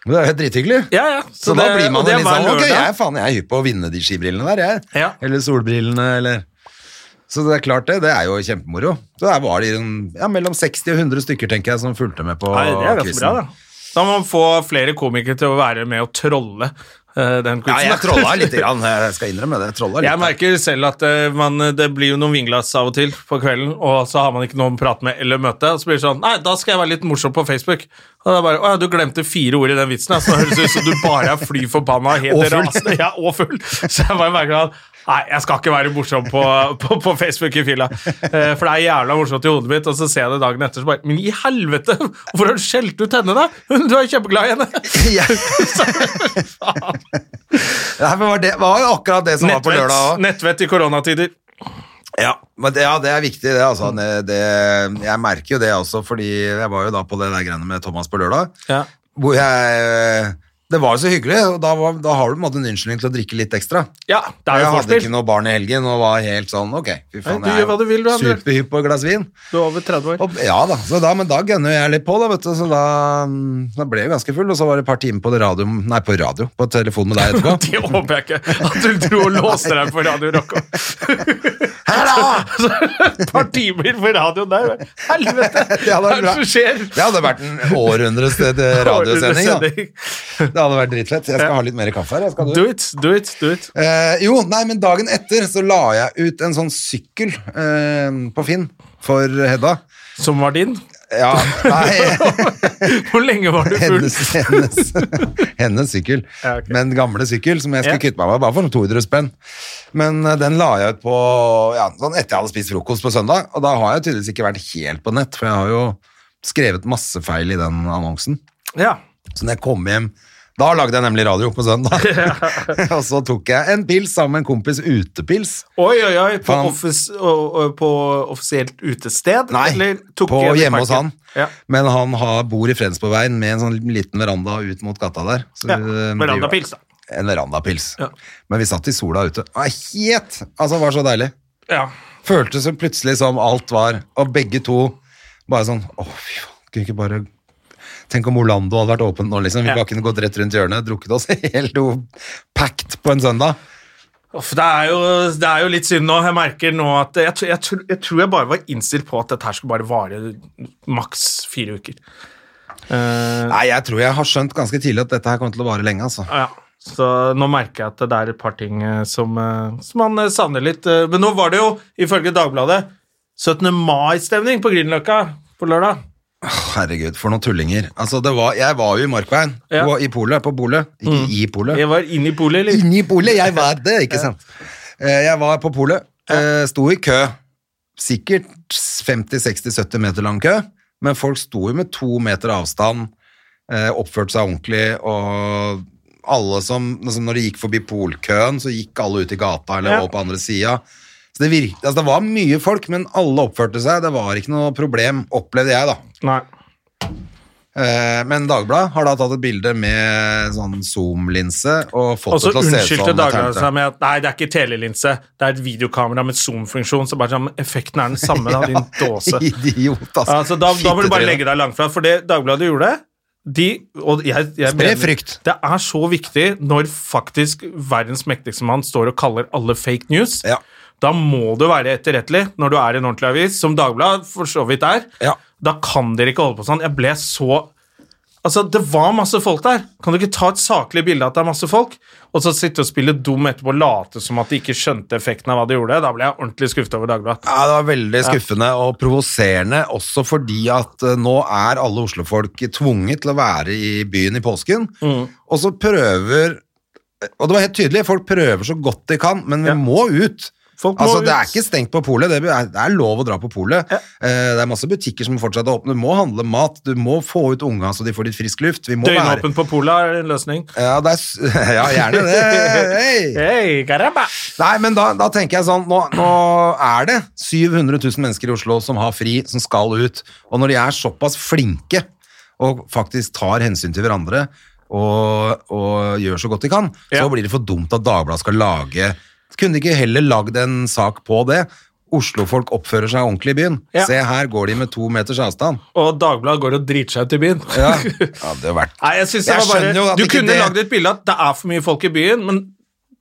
Speaker 1: Men det er jo helt drithyggelig.
Speaker 2: Ja, ja.
Speaker 1: Så, da
Speaker 2: det-
Speaker 1: blir man
Speaker 2: og det
Speaker 1: jo litt
Speaker 2: var en
Speaker 1: sånn Ok,
Speaker 2: lørdag.
Speaker 1: jeg, er faen, jeg er hypp på å vinne de skibrillene der, jeg.
Speaker 2: Ja.
Speaker 1: Eller solbrillene, eller Så det er klart, det. Det er jo kjempemoro. Så der var det en- ja, mellom 60 og 100 stykker, tenker jeg, som fulgte med på
Speaker 2: Nei, det er ganske
Speaker 1: quizen.
Speaker 2: bra, da. Da må man få flere komikere til å være med og trolle eh, den
Speaker 1: Ja,
Speaker 2: quizen.
Speaker 1: jeg trolla litt, grann, jeg skal innrømme det. Jeg trolla litt.
Speaker 2: Jeg merker selv at eh, man, det blir jo noen vinglass av og til på kvelden, og så har man ikke noen å prate med eller møte, og så blir det sånn Nei, da skal jeg være litt morsom på Facebook. Og det er bare Å ja, du glemte fire ord i den vitsen, ja, så det høres ut som du bare er fly forbanna og
Speaker 1: Og
Speaker 2: helt
Speaker 1: full.
Speaker 2: rasende. Ja, og full. Så jeg bare merker at Nei, jeg skal ikke være morsom på, på, på Facebook i fylla. Eh, For det er jævla morsomt i hodet mitt, og så ser jeg det dagen etter, så bare Men i helvete! Hvorfor har du skjelt ut henne, da? Du er jo kjempeglad i henne!
Speaker 1: Jeg-
Speaker 2: Faen.
Speaker 1: Nei, men var det var jo akkurat det som var på
Speaker 2: Nettvett,
Speaker 1: lørdag òg.
Speaker 2: nettvett i koronatider.
Speaker 1: Ja, men det, ja, det er viktig, det. altså. Det, det, jeg merker jo det også, fordi jeg var jo da på det der greiene med Thomas på lørdag.
Speaker 2: Ja.
Speaker 1: Hvor jeg eh, Det var jo så hyggelig, og da, var, da har du på en måte en unnskyldning til å drikke litt ekstra.
Speaker 2: Ja, det er
Speaker 1: jeg
Speaker 2: jo
Speaker 1: hadde
Speaker 2: forspill.
Speaker 1: ikke noe barn i helgen og var helt sånn ok, fy faen,
Speaker 2: Nei, du
Speaker 1: jeg er
Speaker 2: gjør hva du vil, du, André.
Speaker 1: superhypp på et glass vin.
Speaker 2: Du er over 30 år.
Speaker 1: Og, ja da, så da, men da gønner jeg litt på, da, vet du. Så da, da ble jeg ganske full, og så var det et par timer på det radio Nei, på radio, på telefon med deg etterpå.
Speaker 2: Det håper jeg ikke. At du dro og låste deg på Radio Rock.
Speaker 1: Hei da!
Speaker 2: Så Et par timer på radioen der. Helvete!
Speaker 1: Det
Speaker 2: Hva er
Speaker 1: hadde vært
Speaker 2: det
Speaker 1: bra.
Speaker 2: som skjer?
Speaker 1: Det hadde vært en århundres eh, radiosending, da. Det hadde vært dritfett. Jeg skal ha litt mer kaffe her. Jeg skal
Speaker 2: Do it, do it, do it.
Speaker 1: Eh, jo, nei, men dagen etter så la jeg ut en sånn sykkel eh, på Finn for Hedda.
Speaker 2: Som var din.
Speaker 1: Ja, nei,
Speaker 2: Hvor lenge var du full?
Speaker 1: hennes, hennes, hennes sykkel.
Speaker 2: Ja, ok.
Speaker 1: Men gamle sykkel som jeg skulle
Speaker 2: Ja.
Speaker 1: kvitte meg med, bare for noen 200 spenn. Men eh, den la jeg ut på ja, sånn etter jeg hadde spist frokost på søndag, og da har jeg tydeligvis ikke vært helt på nett, for jeg har jo skrevet masse feil i den annonsen.
Speaker 2: Ja.
Speaker 1: Så når jeg kom hjem Da lagde jeg nemlig radio på søndag. og så tok jeg en pils sammen med en kompis utepils.
Speaker 2: Oi, oi, oi. På,
Speaker 1: Han-
Speaker 2: offis, og- og på offisielt utested?
Speaker 1: Nei,
Speaker 2: eller tok
Speaker 1: på
Speaker 2: en i
Speaker 1: hjemme hos
Speaker 2: parken?
Speaker 1: han.
Speaker 2: Ja.
Speaker 1: Men han har, bor i Frensborgveien med en sånn liten veranda ut mot gata der. Så,
Speaker 2: Ja.
Speaker 1: eh,
Speaker 2: Verandapils, da.
Speaker 1: En verandapils.
Speaker 2: Ja.
Speaker 1: Men vi satt i sola ute. Ah, het! Altså, det var så deilig.
Speaker 2: Ja.
Speaker 1: Føltes så plutselig som alt var Og begge to bare sånn Å, fy faen, kunne ikke bare Tenk om Orlando hadde vært åpent nå, liksom. Vi
Speaker 2: Ja.
Speaker 1: bare kunne gått rett rundt hjørnet, drukket oss helt packed på en søndag.
Speaker 2: Uff, det, er jo, det er jo litt synd nå. Jeg merker nå at jeg, tr- jeg, tr- jeg tror jeg bare var innstilt på at dette her skulle bare vare maks fire uker. Eh,
Speaker 1: Nei, jeg tror jeg har skjønt ganske tidlig at dette her kommer til å vare lenge, altså.
Speaker 2: ja. Så nå merker jeg at det er et par ting eh, som, eh, som man eh, savner litt. Eh, Men nå var det jo, ifølge Dagbladet, 17. mai-stemning på Grünerløkka på lørdag.
Speaker 1: Herregud, for noen tullinger. Altså, det var, jeg var jo i Markveien,
Speaker 2: Ja.
Speaker 1: på, i polet, på bolet. Ikke i polet.
Speaker 2: Jeg var inne i polet, eller?
Speaker 1: Inni polet, jeg var det, ikke sant? Eh, Jeg var på polet, eh, sto i kø. Sikkert 50-60-70 meter lang kø, men folk sto jo med to meter avstand, eh, oppførte seg ordentlig, og alle som, altså når de gikk forbi polkøen, så gikk alle ut i gata eller
Speaker 2: Ja.
Speaker 1: over på andre siden. Så det, virket, altså det var mye folk, men alle oppførte seg. Det var ikke noe problem, opplevde jeg da.
Speaker 2: Nei.
Speaker 1: Eh, Men Dagbladet har da tatt et bilde med sånn zoom-linse og fått
Speaker 2: Og så
Speaker 1: det til å se ut som
Speaker 2: Altså, unnskyldte
Speaker 1: et
Speaker 2: Dagbladet
Speaker 1: tegnte.
Speaker 2: seg med at nei, det er ikke telelinse, det er et videokamera med zoom-funksjon. Så bare sånn, men effekten er den samme, da, din dåse.
Speaker 1: Idiot, altså.
Speaker 2: Altså, da, da må du bare
Speaker 1: Fittetryne.
Speaker 2: legge deg langflat, for det Dagbladet gjorde de, og jeg, jeg
Speaker 1: Spre frykt.
Speaker 2: Det er så viktig når faktisk verdens mektigste mann står og kaller alle fake news.
Speaker 1: Ja.
Speaker 2: Da må du være etterrettelig når du er i en ordentlig avis, som Dagbladet for så vidt er.
Speaker 1: Ja.
Speaker 2: Da kan dere ikke holde på sånn. Jeg ble så Altså, Det var masse folk der. Kan du ikke ta et saklig bilde av at det er masse folk, og så sitte og spille dum etterpå og late som at de ikke skjønte effekten av hva de gjorde? Da ble jeg ordentlig skuffet over Dagbladet.
Speaker 1: Ja, det var veldig skuffende og provoserende, også fordi at eh, nå er alle Oslo-folk tvunget til å være i byen i påsken,
Speaker 2: Mm.
Speaker 1: og så prøver, eh, og det var helt tydelig, folk prøver så godt de kan, men vi
Speaker 2: Ja.
Speaker 1: må ut.
Speaker 2: Folk må
Speaker 1: altså, det
Speaker 2: ut.
Speaker 1: er ikke stengt på polet, det er, det er lov å dra på polet. Eh, Det er masse butikker som fortsatt er åpne, du må handle mat, du må få ut unga så de får litt frisk luft. Vi må være...
Speaker 2: Døgnåpen på Pola er en løsning.
Speaker 1: Ja, det er, s- ja, gjerne det. Hei!
Speaker 2: Hei, karabba!
Speaker 1: Nei, men da, da tenker jeg sånn, nå, nå er det 700 000 mennesker i Oslo som har fri, som skal ut, og når de er såpass flinke og faktisk tar hensyn til hverandre og, og gjør så godt de kan,
Speaker 2: Ja.
Speaker 1: så blir det for dumt at Dagbladet skal lage... Kunne de ikke heller lagd en sak på det? Oslofolk oppfører seg ordentlig i byen.
Speaker 2: Ja.
Speaker 1: Se, her går de med to meters avstand.
Speaker 2: Og Dagbladet går og driter seg ut i byen.
Speaker 1: Ja, ja det har vært
Speaker 2: Nei, jeg synes det
Speaker 1: Jeg
Speaker 2: var
Speaker 1: skjønner jo
Speaker 2: bare
Speaker 1: at
Speaker 2: Du
Speaker 1: ikke
Speaker 2: kunne
Speaker 1: det-
Speaker 2: lagd et bilde at det er for mye folk i byen, men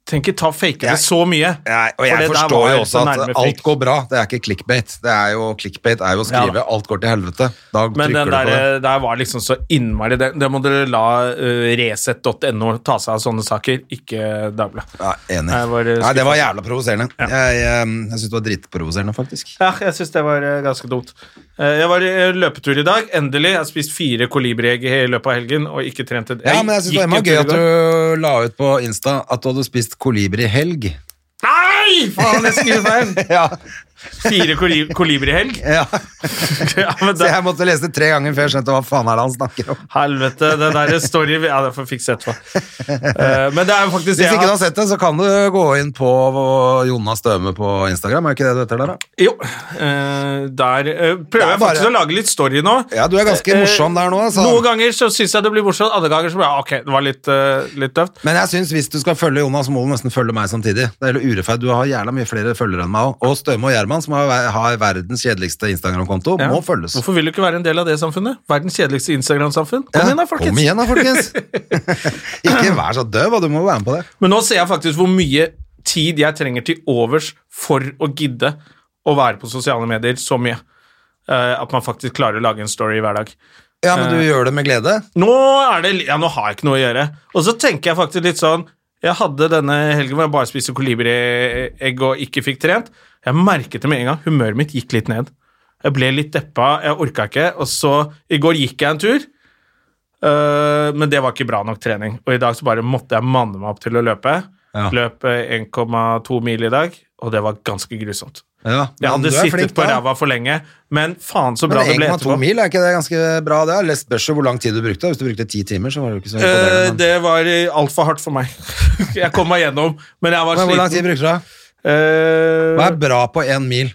Speaker 2: tenk ikke ta fake det
Speaker 1: Jeg-
Speaker 2: så mye.
Speaker 1: Nei, og
Speaker 2: For
Speaker 1: jeg
Speaker 2: det der
Speaker 1: forstår
Speaker 2: var
Speaker 1: jo
Speaker 2: så
Speaker 1: også at
Speaker 2: nærme
Speaker 1: alt
Speaker 2: fake.
Speaker 1: går bra. Det er ikke clickbait. Det er jo, clickbait er jo å skrive
Speaker 2: Ja.
Speaker 1: 'alt går til helvete'. Da
Speaker 2: Men
Speaker 1: trykker
Speaker 2: den
Speaker 1: du på det.
Speaker 2: der, der var liksom så innmari Det, det må dere la eh, Resett.no ta seg av sånne saker, ikke Dagbladet.
Speaker 1: Ja, enig.
Speaker 2: Jeg var, eh,
Speaker 1: Nei, det var jævla provoserende. Jeg, jeg, jeg syns det var dritprovoserende, faktisk.
Speaker 2: Ja, jeg syns det var eh, ganske dumt. Eh, Jeg var i eh, løpetur i dag, endelig. Jeg har spist fire kolibriegg i løpet av helgen og ikke trent et egg.
Speaker 1: Ja, men jeg synes det
Speaker 2: Gikk
Speaker 1: var
Speaker 2: en tur
Speaker 1: gøy
Speaker 2: i
Speaker 1: at
Speaker 2: går.
Speaker 1: du la ut på Insta at du hadde spist kolibri i helg.
Speaker 2: Nei! Faen, jeg skriver feil!
Speaker 1: Ja,
Speaker 2: Fire koli kolibrihelg?
Speaker 1: ja.
Speaker 2: Ja, men
Speaker 1: Så
Speaker 2: da,
Speaker 1: jeg måtte lese det tre ganger før jeg skjønte hva faen er det han snakker om.
Speaker 2: Helvete, den der story Ja, det får jeg fikse etterpå. Eh, men det er jo faktisk
Speaker 1: Hvis
Speaker 2: jeg
Speaker 1: ikke
Speaker 2: har-
Speaker 1: du har sett det, så kan du gå inn på Jonas Støme på Instagram. Er ikke det du heter der, da?
Speaker 2: Jo. eh, der eh, prøver
Speaker 1: er
Speaker 2: jeg
Speaker 1: bare-
Speaker 2: faktisk å lage litt story nå.
Speaker 1: Ja, du er ganske
Speaker 2: Eh,
Speaker 1: morsom der nå, altså.
Speaker 2: Noen ganger så syns jeg det blir morsomt, andre ganger så blir jeg, ok, det var litt, eh, litt tøft.
Speaker 1: Men jeg synes hvis du skal følge Jonas, så må du nesten følge meg samtidig. Det er litt urettferdig. Du har jævla mye flere følgere enn meg òg. Og Støme og Gjerman, som har, har verdens kjedeligste Instagram-konto,
Speaker 2: Ja.
Speaker 1: må følges.
Speaker 2: Hvorfor vil du ikke være en del av det samfunnet? Verdens kjedeligste Instagram-samfunn. Kom
Speaker 1: Ja,
Speaker 2: igjen, da, folkens.
Speaker 1: Kom igjen da, folkens. ikke vær så døv, og du må være med på det.
Speaker 2: Men nå ser jeg faktisk hvor mye tid jeg trenger til overs for å gidde å være på sosiale medier så mye. eh, at man faktisk klarer å lage en story hver dag. Eh.
Speaker 1: Ja, men du gjør det med glede.
Speaker 2: Nå, er det, ja, nå har jeg ikke noe å gjøre. Og så tenker jeg faktisk litt sånn Jeg hadde denne helgen hvor jeg bare spiste kolibriegg og ikke fikk trent. Jeg merket det med en gang. Humøret mitt gikk litt ned. Jeg ble litt deppa, jeg orka ikke. Og så I går gikk jeg en tur, øh, men det var ikke bra nok trening. Og i dag så bare måtte jeg manne meg opp til å løpe.
Speaker 1: Ja.
Speaker 2: Løp eh, 1,2 mil i dag, og det var ganske grusomt.
Speaker 1: Ja,
Speaker 2: Jeg
Speaker 1: men
Speaker 2: hadde
Speaker 1: du er
Speaker 2: sittet
Speaker 1: flink,
Speaker 2: på
Speaker 1: da.
Speaker 2: ræva for lenge, men faen så bra
Speaker 1: Men
Speaker 2: det ble
Speaker 1: 1,2
Speaker 2: etterpå.
Speaker 1: mil, er ikke det ganske bra? Det Jeg spørs jo hvor lang tid du brukte. Hvis du brukte ti timer, så var det jo ikke så
Speaker 2: Eh,
Speaker 1: imponerende.
Speaker 2: det var eh, altfor hardt for meg. jeg kom meg gjennom, men jeg var
Speaker 1: Men, men hvor lang tid
Speaker 2: sliten.
Speaker 1: brukte du? da?
Speaker 2: Eh,
Speaker 1: Hva er bra på én mil?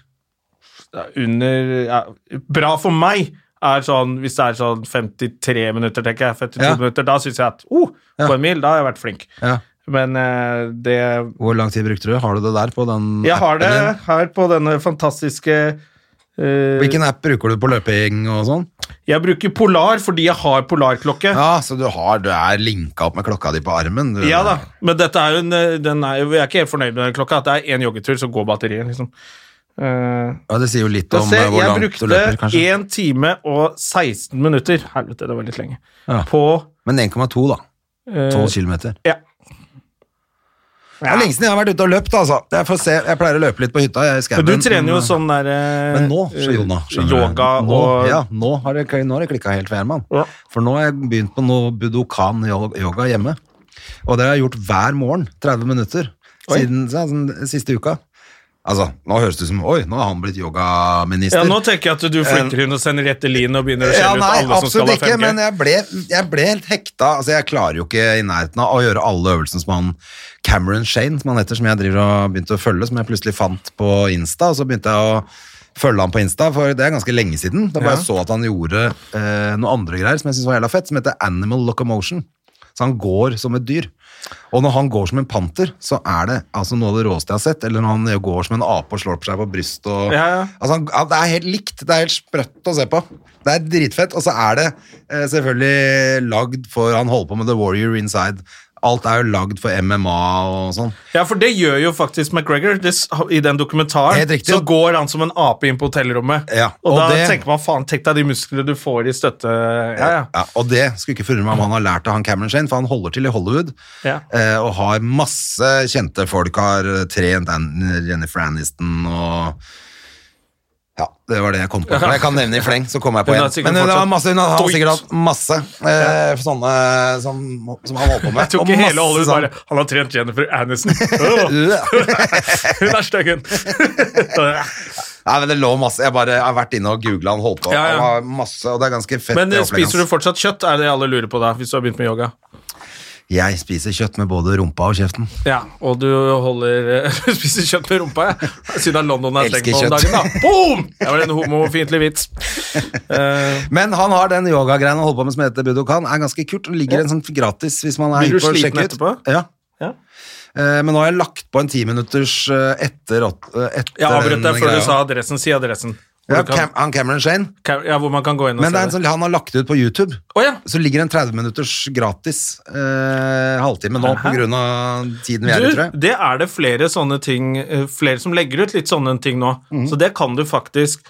Speaker 2: under ja, Bra for meg er sånn hvis det er sånn 53 minutter, tenker jeg. 52
Speaker 1: Ja.
Speaker 2: minutter. Da syns jeg at oh,
Speaker 1: Ja.
Speaker 2: på en mil, da har jeg vært flink.
Speaker 1: Ja.
Speaker 2: Men eh, det
Speaker 1: Hvor lang tid brukte du? Har du det der på den
Speaker 2: Jeg har det
Speaker 1: appen din?
Speaker 2: her på denne fantastiske eh,
Speaker 1: Hvilken app bruker du på løping og sånn?
Speaker 2: Jeg bruker Polar fordi jeg har polarklokke.
Speaker 1: Ja, så du har, du er linka opp med klokka di på armen? Du,
Speaker 2: Ja da, men dette er jo en, eh, den er, jeg er ikke helt fornøyd med den klokka. At det er én joggetur, så går batteriet, liksom. Eh,
Speaker 1: Ja, det sier jo litt
Speaker 2: Da
Speaker 1: om
Speaker 2: se,
Speaker 1: eh, hvor
Speaker 2: jeg
Speaker 1: langt du
Speaker 2: brukte
Speaker 1: løper, kanskje.
Speaker 2: 1 time og 16 minutter Helvete, det var litt lenge.
Speaker 1: Ja.
Speaker 2: På
Speaker 1: Men 1,2, da.
Speaker 2: eh,
Speaker 1: 12 kilometer.
Speaker 2: ja.
Speaker 1: Det er lenge siden jeg har vært ute og løpt, altså. Jeg, får se. jeg pleier å løpe litt på hytta. Jeg er i skauen,
Speaker 2: Men du trener jo
Speaker 1: men-
Speaker 2: sånn der eh,
Speaker 1: Men nå, så Jona, skjønner du.
Speaker 2: Yoga
Speaker 1: nå,
Speaker 2: og
Speaker 1: Ja, nå har det, nå har det klikka helt for Herman.
Speaker 2: Ja.
Speaker 1: For nå har jeg begynt på noe budokan-yoga hjemme. Og det har jeg gjort hver morgen, 30 minutter,
Speaker 2: Oi.
Speaker 1: siden ja, den siste uka. Altså, nå høres det ut som Oi, nå har han blitt yogaminister.
Speaker 2: Ja, nå tenker jeg at du flytter inn og sender rett til Lien og begynner å skjelle
Speaker 1: Eh, Ja,
Speaker 2: ut
Speaker 1: nei,
Speaker 2: alle som skal
Speaker 1: absolutt
Speaker 2: ha 5G.
Speaker 1: ikke, men jeg ble, jeg ble helt hekta. Altså, jeg klarer jo ikke i nærheten av å gjøre alle øvelsene som han Cameron Shane, som han heter, som jeg driver og begynte å følge, som jeg plutselig fant på Insta, og så begynte jeg å følge han på Insta, for det er ganske lenge siden. Da bare jeg så at han gjorde eh, noe andre greier som jeg synes var jævla fett, som heter Animal Locomotion. Så han går som et dyr. Og når han går som en panter, så er det altså noe av det råeste jeg har sett. Eller når han går som en ape og slår på seg på brystet og
Speaker 2: Ja, ja.
Speaker 1: Altså, han- ja, det er helt likt. Det er helt sprøtt å se på. Det er dritfett. Og så er det eh, selvfølgelig lagd for Han holder på med The Warrior Inside. Alt er jo lagd for MMA og sånn.
Speaker 2: Ja, for det gjør jo faktisk McGregor. Det, s- I den dokumentaren
Speaker 1: Helt riktig,
Speaker 2: så
Speaker 1: og-
Speaker 2: går han som en ape inn på hotellrommet.
Speaker 1: Ja,
Speaker 2: og,
Speaker 1: og
Speaker 2: da
Speaker 1: det-
Speaker 2: tenker man faen, tenk deg de musklene du får i støtte. Ja, ja.
Speaker 1: Ja, og det skulle ikke forundre meg om han har lært av han Cameron Shane, for han holder til i Hollywood
Speaker 2: Ja.
Speaker 1: eh, og har masse kjente folk. Har eh, trent An- Jennifer Aniston og Ja, det var det jeg kom på. Men Jeg kan nevne i fleng, så kommer jeg på
Speaker 2: Hun har sikkert
Speaker 1: igjen. Men hun har,
Speaker 2: fortsatt
Speaker 1: masse, hun har
Speaker 2: doit.
Speaker 1: sikkert hatt masse eh, sånne som, som han holdt på med.
Speaker 2: Jeg tok
Speaker 1: og
Speaker 2: ikke
Speaker 1: masse
Speaker 2: hele Hollywood
Speaker 1: sånn-
Speaker 2: bare Han har trent Jennifer Aniston. Åh, Hun er stygg, hun.
Speaker 1: Nei, men det lå masse. Jeg bare jeg har vært inne og googla han holdt på.
Speaker 2: Ja, ja.
Speaker 1: Han har masse, og det er ganske fett.
Speaker 2: Men
Speaker 1: det
Speaker 2: eh,
Speaker 1: opplegget
Speaker 2: spiser du
Speaker 1: hans.
Speaker 2: fortsatt kjøtt, er det alle lurer på da, hvis du har begynt med yoga?
Speaker 1: Jeg spiser kjøtt med både rumpa og kjeften.
Speaker 2: Ja, og du holder eh, Du spiser kjøtt med rumpa, ja. Siden London er stengt
Speaker 1: Elsker
Speaker 2: på om
Speaker 1: kjøtt.
Speaker 2: dagen, da. Boom! Det var en homofiendtlig vits. Eh,
Speaker 1: Men han har den yogagreien han holder på med som heter Budokan. er ganske kult. og ligger en sånn gratis hvis man er
Speaker 2: Blir du
Speaker 1: hypp på å
Speaker 2: sliten
Speaker 1: sjekke ut.
Speaker 2: etterpå?
Speaker 1: Ja.
Speaker 2: Ja.
Speaker 1: Eh, Men nå har jeg lagt på en timinutters eh, etter, at- eh, etter
Speaker 2: Jeg avbrøt deg
Speaker 1: den
Speaker 2: før
Speaker 1: greia.
Speaker 2: du sa adressen. Si adressen. Hvor,
Speaker 1: ja,
Speaker 2: du kan,
Speaker 1: Cam han Cameron Shane.
Speaker 2: Cam- ja, hvor man kan gå inn og
Speaker 1: Men det er en
Speaker 2: se det.
Speaker 1: sånn, han har lagt det ut på YouTube.
Speaker 2: Å ja.
Speaker 1: Så ligger det en 30-minutters gratis eh, halvtime nå på grunn av tiden vi er i, tror
Speaker 2: Du,
Speaker 1: jeg.
Speaker 2: det er det flere sånne ting eh, Flere som legger ut litt sånne ting nå.
Speaker 1: Mhm.
Speaker 2: Så det kan du faktisk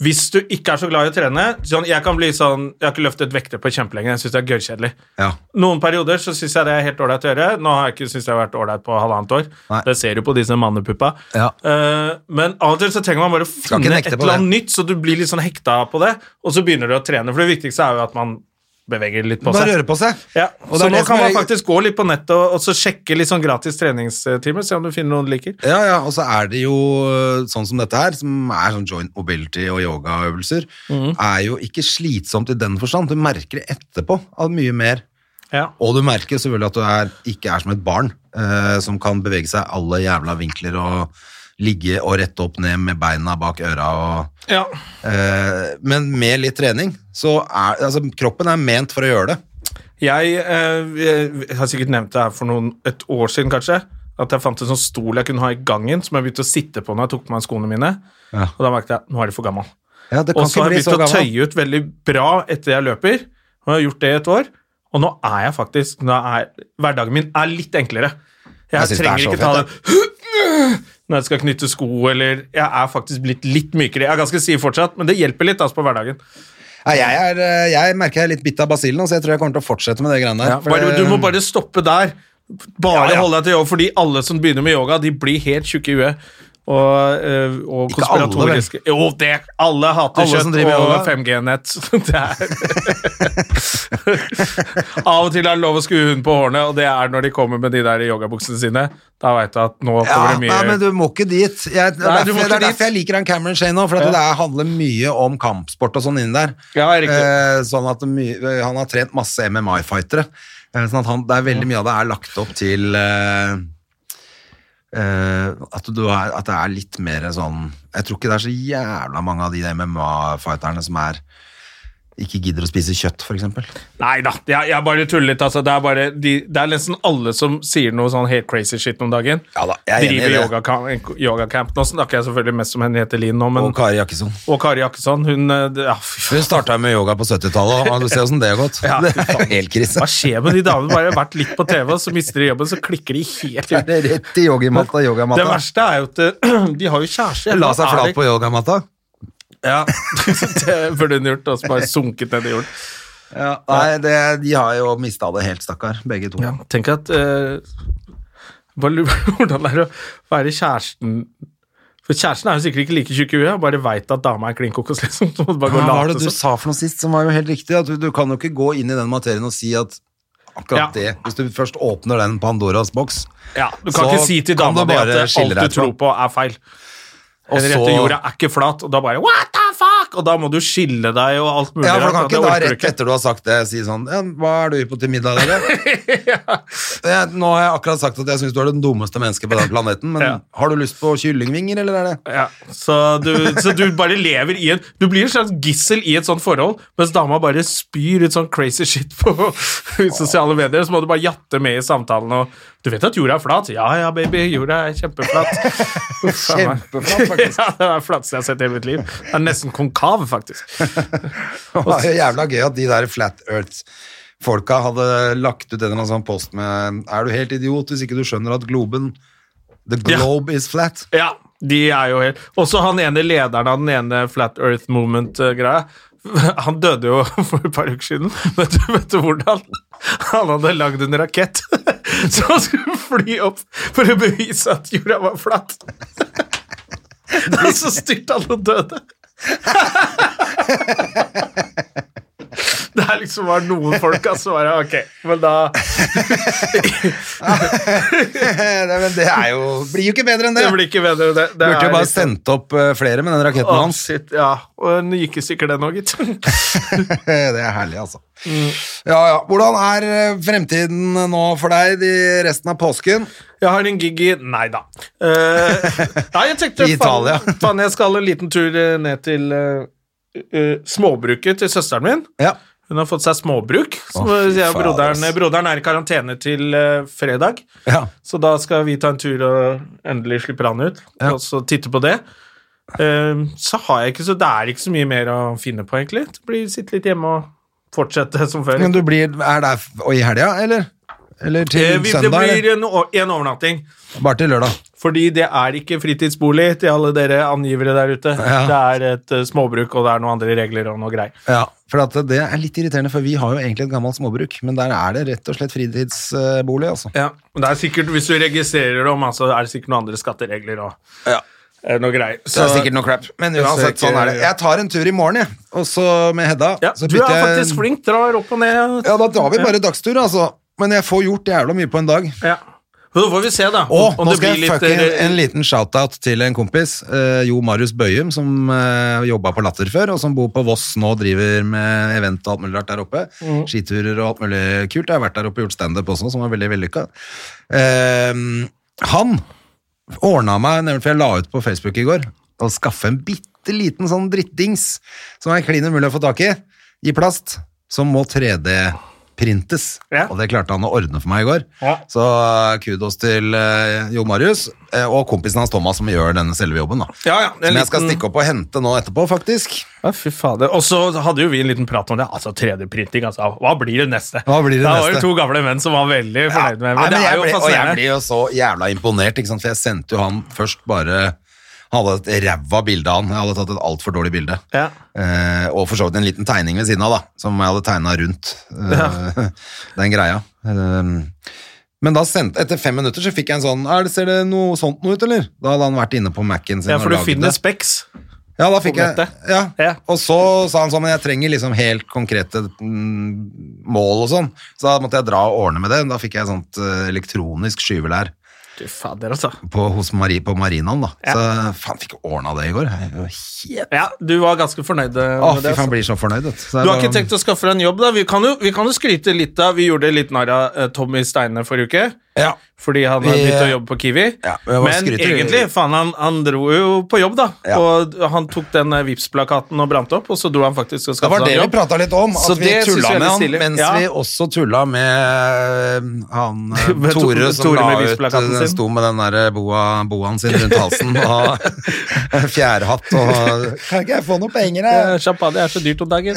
Speaker 2: Hvis du ikke er så glad i å trene sånn, Jeg kan bli sånn Jeg har ikke løftet vekter på kjempelenge. Jeg syns det er gørrkjedelig.
Speaker 1: Ja.
Speaker 2: Noen perioder så syns jeg det er helt ålreit å gjøre. Nå har jeg ikke syntes det har vært ålreit på halvannet år.
Speaker 1: Nei.
Speaker 2: Det ser du på disse mannepuppa.
Speaker 1: Ja.
Speaker 2: Eh, men av og til så trenger man bare å
Speaker 1: ikke
Speaker 2: finne et
Speaker 1: nekte på
Speaker 2: eller
Speaker 1: det.
Speaker 2: annet nytt, så du blir litt sånn hekta på det, og så begynner du å trene. For det viktigste er jo at man beveger litt på
Speaker 1: Bare
Speaker 2: seg.
Speaker 1: røre på seg.
Speaker 2: Ja,
Speaker 1: Og det
Speaker 2: Så
Speaker 1: er
Speaker 2: nå
Speaker 1: det som
Speaker 2: kan man
Speaker 1: er-
Speaker 2: faktisk gå litt på nettet og, og så sjekke litt sånn gratis treningstimer, se om du finner noen du liker.
Speaker 1: Ja, ja, og så er det jo øh, sånn som dette her, som er sånn joint mobility og yogaøvelser, er jo ikke slitsomt i den forstand. Du merker det etterpå av mye mer.
Speaker 2: Ja.
Speaker 1: Og du merker selvfølgelig at du er, ikke er som et barn eh, som kan bevege seg alle jævla vinkler og ligge og rette opp ned med beina bak øra. Og,
Speaker 2: Ja.
Speaker 1: eh, men med litt trening, så er altså, kroppen er ment for å gjøre det.
Speaker 2: Jeg, eh, jeg har sikkert nevnt det her for noen, et år siden, kanskje. At jeg fant en sånn stol jeg kunne ha i gangen, som jeg begynte å sitte på når jeg tok på meg skoene mine.
Speaker 1: Ja.
Speaker 2: Og da merket jeg nå er de for gammel.
Speaker 1: Ja, det
Speaker 2: Og
Speaker 1: kan
Speaker 2: så
Speaker 1: ikke
Speaker 2: har
Speaker 1: bli
Speaker 2: jeg
Speaker 1: så
Speaker 2: begynt å
Speaker 1: gammel.
Speaker 2: tøye ut veldig bra etter jeg løper. Og jeg har gjort det i et år. Og nå er jeg faktisk nå er, Hverdagen min er litt enklere. Jeg,
Speaker 1: Jeg synes det er
Speaker 2: trenger
Speaker 1: så
Speaker 2: ikke ta det når jeg skal knytte sko, eller Jeg er faktisk blitt litt mykere. Jeg er ganske stiv fortsatt, men det hjelper litt altså, på hverdagen.
Speaker 1: Nei, jeg, er, eh, jeg merker jeg er litt bitt av basillen, så jeg tror jeg kommer til å fortsette med det greiene der.
Speaker 2: Ja,
Speaker 1: for
Speaker 2: bare,
Speaker 1: det-
Speaker 2: du må bare stoppe der. Bare
Speaker 1: Ja, ja.
Speaker 2: holde deg til yoga, fordi alle som begynner med yoga, de blir helt tjukke i huet. Og, eh, og
Speaker 1: Ikke alle, vel?
Speaker 2: konspiratoriske Jo, det! Alle hater
Speaker 1: Alle som driver
Speaker 2: kjøtt og
Speaker 1: yoga?
Speaker 2: 5G-nett. Det er Av og til er det lov å skue hunden på hårene, og det er når de kommer med de der yogabuksene sine. Da veit du at nå
Speaker 1: Ja,
Speaker 2: kommer det mye
Speaker 1: nei, men du må ikke dit. Jeg, det er
Speaker 2: Nei, du
Speaker 1: derfor,
Speaker 2: må ikke
Speaker 1: det er
Speaker 2: dit.
Speaker 1: derfor jeg liker han Cameron Shane nå, for at
Speaker 2: Ja.
Speaker 1: det er, handler mye om kampsport og sånn inni der.
Speaker 2: Ja, riktig.
Speaker 1: Eh, sånn at det mye, eh, han har trent masse MMA-fightere. Eh, sånn at han, det er veldig mye av det er lagt opp til eh, eh, at, du er, at det er litt mer sånn Jeg tror ikke det er så jævla mange av de MMA-fighterne som er ikke gidder å spise kjøtt, for eksempel.
Speaker 2: Nei da, jeg, jeg bare tuller litt. Altså. Det, er bare, de, det er nesten alle som sier noe sånn helt crazy shit om dagen.
Speaker 1: Ja da, jeg er enig i
Speaker 2: Driver
Speaker 1: det.
Speaker 2: yogacamp. Yoga camp. nå snakker jeg selvfølgelig mest om Henriette Lien nå, men
Speaker 1: Og Kari Jakkesson.
Speaker 2: Og Kari Jakkesson, hun eh, det- ja, fy faen.
Speaker 1: Hun starta med yoga på 70-tallet, og du ser åssen det har gått.
Speaker 2: Ja,
Speaker 1: det
Speaker 2: fy
Speaker 1: er jo
Speaker 2: faen.
Speaker 1: helt krise.
Speaker 2: Hva skjer med de damene? Bare vært litt på TV, og så mister de jobben, så klikker de helt
Speaker 1: Det
Speaker 2: ut.
Speaker 1: er rett i yogamatta, yogamatta.
Speaker 2: Det verste er jo at eh, de har jo kjæreste.
Speaker 1: La
Speaker 2: Er
Speaker 1: seg
Speaker 2: de-
Speaker 1: flat på yogamatta.
Speaker 2: Ja, det burde hun gjort, og så bare sunket ned i jorden.
Speaker 1: Nei, det, de har jo mista det helt, stakkar, begge to.
Speaker 2: Ja, tenk at eh, Bare lurer på hvordan det er å være kjæresten For kjæresten er jo sikkert ikke like tjukk i huet, bare veit at dama er klin kokos, liksom. Så må du bare gå
Speaker 1: Hva
Speaker 2: og
Speaker 1: var
Speaker 2: late
Speaker 1: det du
Speaker 2: som.
Speaker 1: sa for noe sist som var jo helt riktig? At du, du kan jo ikke gå inn i den materien og si at
Speaker 2: Ja.
Speaker 1: akkurat det Hvis du først åpner den Pandoras boks,
Speaker 2: Ja, du kan
Speaker 1: Så
Speaker 2: ikke si til
Speaker 1: kan
Speaker 2: dama
Speaker 1: du
Speaker 2: di
Speaker 1: bare
Speaker 2: at eh,
Speaker 1: skille
Speaker 2: alt
Speaker 1: deg
Speaker 2: du tror
Speaker 1: fra.
Speaker 2: på, er feil.
Speaker 1: og
Speaker 2: Eller
Speaker 1: så
Speaker 2: etter jorda er ikke flat, og da bare What the fuck? Og da må du skille deg og alt mulig.
Speaker 1: ja, for du kan
Speaker 2: rart, og
Speaker 1: ikke
Speaker 2: det
Speaker 1: da
Speaker 2: orker du
Speaker 1: rett etter du har sagt det, si sånn ja, 'Hva er du på til middag, dere?' Jeg- Nå har jeg akkurat sagt at jeg syns du er det dummeste mennesket på den planeten, men
Speaker 2: Ja.
Speaker 1: har du lyst på kyllingvinger, eller er det
Speaker 2: Ja, så du, så du bare lever i en Du blir en slags gissel i et sånt forhold, mens dama bare spyr ut sånn crazy shit på sosiale medier, så må du bare jatte med i samtalen og Du vet at jorda er flat? Ja ja, baby, jorda er kjempeflat. Uff, faen meg.
Speaker 1: Kjempeflat, faktisk.
Speaker 2: ja, det er det flateste jeg har sett i hele mitt liv. Det er nesten konkav, faktisk.
Speaker 1: Det var jo jævla gøy at de der Flat Earth-folka hadde lagt ut en eller annen sånn post med Er du helt idiot hvis ikke du skjønner at globen The globe is flat.
Speaker 2: Ja, de er jo helt Også han ene lederen av den ene Flat Earth Movement-greia. Han døde jo for et par uker siden. Vet du, vet du hvordan? Han hadde lagd en rakett som han skulle fly opp for å bevise at jorda var flat. Da så styrte han og døde. Det er liksom bare noen folk altså bare, Ok, men da
Speaker 1: Nei, men det er jo Blir jo ikke bedre enn det.
Speaker 2: Det blir ikke bedre. Det, det
Speaker 1: Burde
Speaker 2: er
Speaker 1: jo bare
Speaker 2: liksom-
Speaker 1: sendt opp eh, flere med den raketten
Speaker 2: Å,
Speaker 1: hans.
Speaker 2: shit, ja. Og den gikk i stykker, den òg, gitt.
Speaker 1: det er herlig, altså. Ja, ja. Hvordan er eh, fremtiden nå for deg de resten av påsken?
Speaker 2: Jeg har en gig i Nei da. Eh, nei, jeg tenkte
Speaker 1: I Italia.
Speaker 2: Faen, faen, jeg skal en liten tur eh, ned til eh, eh, småbruket til søsteren min.
Speaker 1: Ja.
Speaker 2: Hun har fått seg småbruk. Så
Speaker 1: Å, fy
Speaker 2: sier jeg,
Speaker 1: fader,
Speaker 2: broderen,
Speaker 1: ass.
Speaker 2: broderen er i karantene til eh, fredag,
Speaker 1: Ja.
Speaker 2: så da skal vi ta en tur og endelig slipper han ut, og så titte på det. Eh, så har jeg ikke så det er ikke så mye mer å finne på, egentlig. Det blir Sitte litt hjemme og fortsette som før.
Speaker 1: Men du blir, er der f- og i helga, eller? Eller til
Speaker 2: Eh, vi, det
Speaker 1: søndag?
Speaker 2: blir
Speaker 1: eller?
Speaker 2: en, o- en overnatting.
Speaker 1: Bare til lørdag.
Speaker 2: Fordi det er ikke fritidsbolig til alle dere angivere der ute.
Speaker 1: Ja.
Speaker 2: Det er et eh, småbruk, og det er noen andre regler og noe greier.
Speaker 1: Ja, for at det er litt irriterende, for vi har jo egentlig et gammelt småbruk, men der er det rett og slett fritidsbolig, altså.
Speaker 2: Ja, men det er sikkert, Hvis du registrerer dem, altså, er det sikkert noen andre skatteregler og
Speaker 1: Ja.
Speaker 2: eh, noe greier.
Speaker 1: Så det er sikkert noe crap. Men uansett, sånn er det. Jeg tar en tur i morgen, jeg. Og så med Hedda.
Speaker 2: ja,
Speaker 1: så
Speaker 2: du er
Speaker 1: bytter jeg-
Speaker 2: faktisk flink. Drar opp og ned.
Speaker 1: Ja, da drar vi bare dagstur, altså. Men jeg får gjort jævla mye på en dag.
Speaker 2: Ja. Så får vi se, da.
Speaker 1: Og
Speaker 2: om
Speaker 1: nå
Speaker 2: det
Speaker 1: skal
Speaker 2: blir
Speaker 1: jeg fucke en,
Speaker 2: eh,
Speaker 1: en liten shout-out til en kompis, eh, Jo Marius Bøyum, som eh, jobba på Latter før, og som bor på Voss nå, driver med event og alt mulig rart der oppe.
Speaker 2: Mm.
Speaker 1: Skiturer og alt mulig kult. Jeg har vært der oppe og gjort standup også, som var veldig vellykka. Eh, han ordna meg, nemlig, for jeg la ut på Facebook i går, å skaffe en bitte liten sånn drittdings som er klin umulig å få tak i, i plast, som må 3D-printes.
Speaker 2: Ja.
Speaker 1: Og det klarte han å ordne for meg i går.
Speaker 2: Ja.
Speaker 1: Så kudos til eh, Jo Marius eh, og kompisen hans Thomas som gjør denne selve jobben. da.
Speaker 2: Ja, ja, en
Speaker 1: som jeg skal
Speaker 2: liten-
Speaker 1: stikke opp og hente nå etterpå, faktisk.
Speaker 2: Ja, fy fader. Og så hadde jo vi en liten prat om det. Altså 3D-printing, altså. Hva blir det neste?
Speaker 1: Hva blir det
Speaker 2: da var
Speaker 1: neste?
Speaker 2: jo to gamle menn som var veldig fornøyd med det.
Speaker 1: Nei,
Speaker 2: Men det
Speaker 1: jeg
Speaker 2: er jo
Speaker 1: ble, og jeg
Speaker 2: fascinerende.
Speaker 1: blir jo så jævla imponert, ikke sant? for jeg sendte jo han først bare Han hadde et ræva bilde av han. Jeg hadde tatt et altfor dårlig bilde.
Speaker 2: Ja.
Speaker 1: Eh, og for så vidt en liten tegning ved siden av, da, som jeg hadde tegna rundt eh, den greia. Eh, men da sendte, etter fem minutter så fikk jeg en sånn er det, Ser det noe sånt noe ut, eller? Da hadde han vært inne på Mac-en sin.
Speaker 2: Ja,
Speaker 1: og
Speaker 2: for du
Speaker 1: laget
Speaker 2: finner
Speaker 1: det.
Speaker 2: Specs.
Speaker 1: Ja, da fikk
Speaker 2: på
Speaker 1: jeg,
Speaker 2: nettet.
Speaker 1: ja.
Speaker 2: Ja.
Speaker 1: Og så sa han sånn, men jeg trenger liksom helt konkrete mm, mål og sånn. Så da måtte jeg dra og ordne med det. Da fikk jeg sånt eh, elektronisk skyvelær
Speaker 2: Fy fader, altså.
Speaker 1: på, hos Marie, på Marinaen, da. Så faen, fikk jeg ordna det i går. Jeg var helt-
Speaker 2: Ja, du var ganske fornøyd eh,
Speaker 1: Å,
Speaker 2: med
Speaker 1: fy
Speaker 2: det.
Speaker 1: faen,
Speaker 2: Altså.
Speaker 1: blir så fornøyd, vet du. Så
Speaker 2: Du
Speaker 1: sånn-
Speaker 2: har
Speaker 1: jeg
Speaker 2: ikke
Speaker 1: bare-
Speaker 2: tenkt å skaffe deg en jobb, da? Vi kan jo, vi kan jo skryte litt av Vi gjorde litt narr av eh, Tommy Steine forrige uke.
Speaker 1: Ja.
Speaker 2: Fordi han har
Speaker 1: Vi-
Speaker 2: begynt å jobbe på Kiwi.
Speaker 1: Ja, men hva
Speaker 2: Men
Speaker 1: skryter-
Speaker 2: egentlig, faen, han, han dro jo på jobb, da.
Speaker 1: Ja.
Speaker 2: Og han tok den eh, Vipps-plakaten og brant opp, og så dro han faktisk og
Speaker 1: Det
Speaker 2: skaffet
Speaker 1: var det
Speaker 2: seg en
Speaker 1: vi
Speaker 2: jobb.
Speaker 1: prata litt om, at
Speaker 2: Så
Speaker 1: vi
Speaker 2: det synes
Speaker 1: tulla
Speaker 2: jeg er
Speaker 1: med
Speaker 2: litt
Speaker 1: han,
Speaker 2: stilig.
Speaker 1: mens
Speaker 2: Ja.
Speaker 1: vi også tulla med eh, han eh,
Speaker 2: Med Tore-
Speaker 1: Tore som
Speaker 2: Tore
Speaker 1: la
Speaker 2: med
Speaker 1: ut
Speaker 2: visplakaten
Speaker 1: eh,
Speaker 2: sin.
Speaker 1: Sto med den der boa, boaen sin rundt halsen og fjærhatt og Kan ikke jeg få noen penger,
Speaker 2: Eh, Champagne er så dyrt om dagen.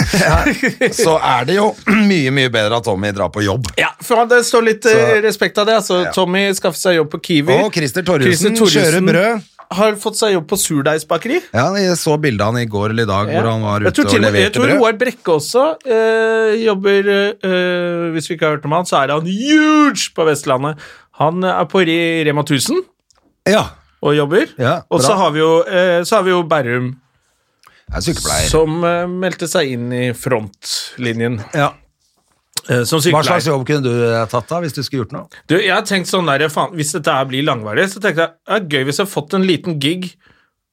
Speaker 1: Så er det jo mye, mye bedre at Tommy drar på jobb.
Speaker 2: Ja, for han- det står litt eh, respekt av det. Altså,
Speaker 1: Ja.
Speaker 2: Tommy skaffet seg jobb på Kiwi.
Speaker 1: Og Christer Torjussen
Speaker 2: Torjussen
Speaker 1: kjører brød.
Speaker 2: Har fått seg jobb på Surdeigsbakeri.
Speaker 1: Ja, jeg så bildet han i går eller i dag hvor han var
Speaker 2: Jeg tror til
Speaker 1: ute og
Speaker 2: og med- Jeg
Speaker 1: leverte
Speaker 2: tror
Speaker 1: brød.
Speaker 2: Roar Brekke også eh, jobber eh, Hvis vi ikke har hørt om han, så er han huge på Vestlandet. Han er på Re- Rema 1000
Speaker 1: Ja,
Speaker 2: og jobber.
Speaker 1: Ja,
Speaker 2: og så
Speaker 1: bra.
Speaker 2: har vi jo, eh, så har vi jo Berrum,
Speaker 1: jeg er sykepleier.
Speaker 2: som eh, meldte seg inn i frontlinjen
Speaker 1: Ja.
Speaker 2: eh, som
Speaker 1: Hva
Speaker 2: sykepleier.
Speaker 1: slags jobb kunne du eh, tatt da, hvis du skulle gjort noe?
Speaker 2: Du, jeg har tenkt sånn der, faen, Hvis dette her blir langvarig, så tenkte jeg det er gøy hvis jeg har fått en liten gig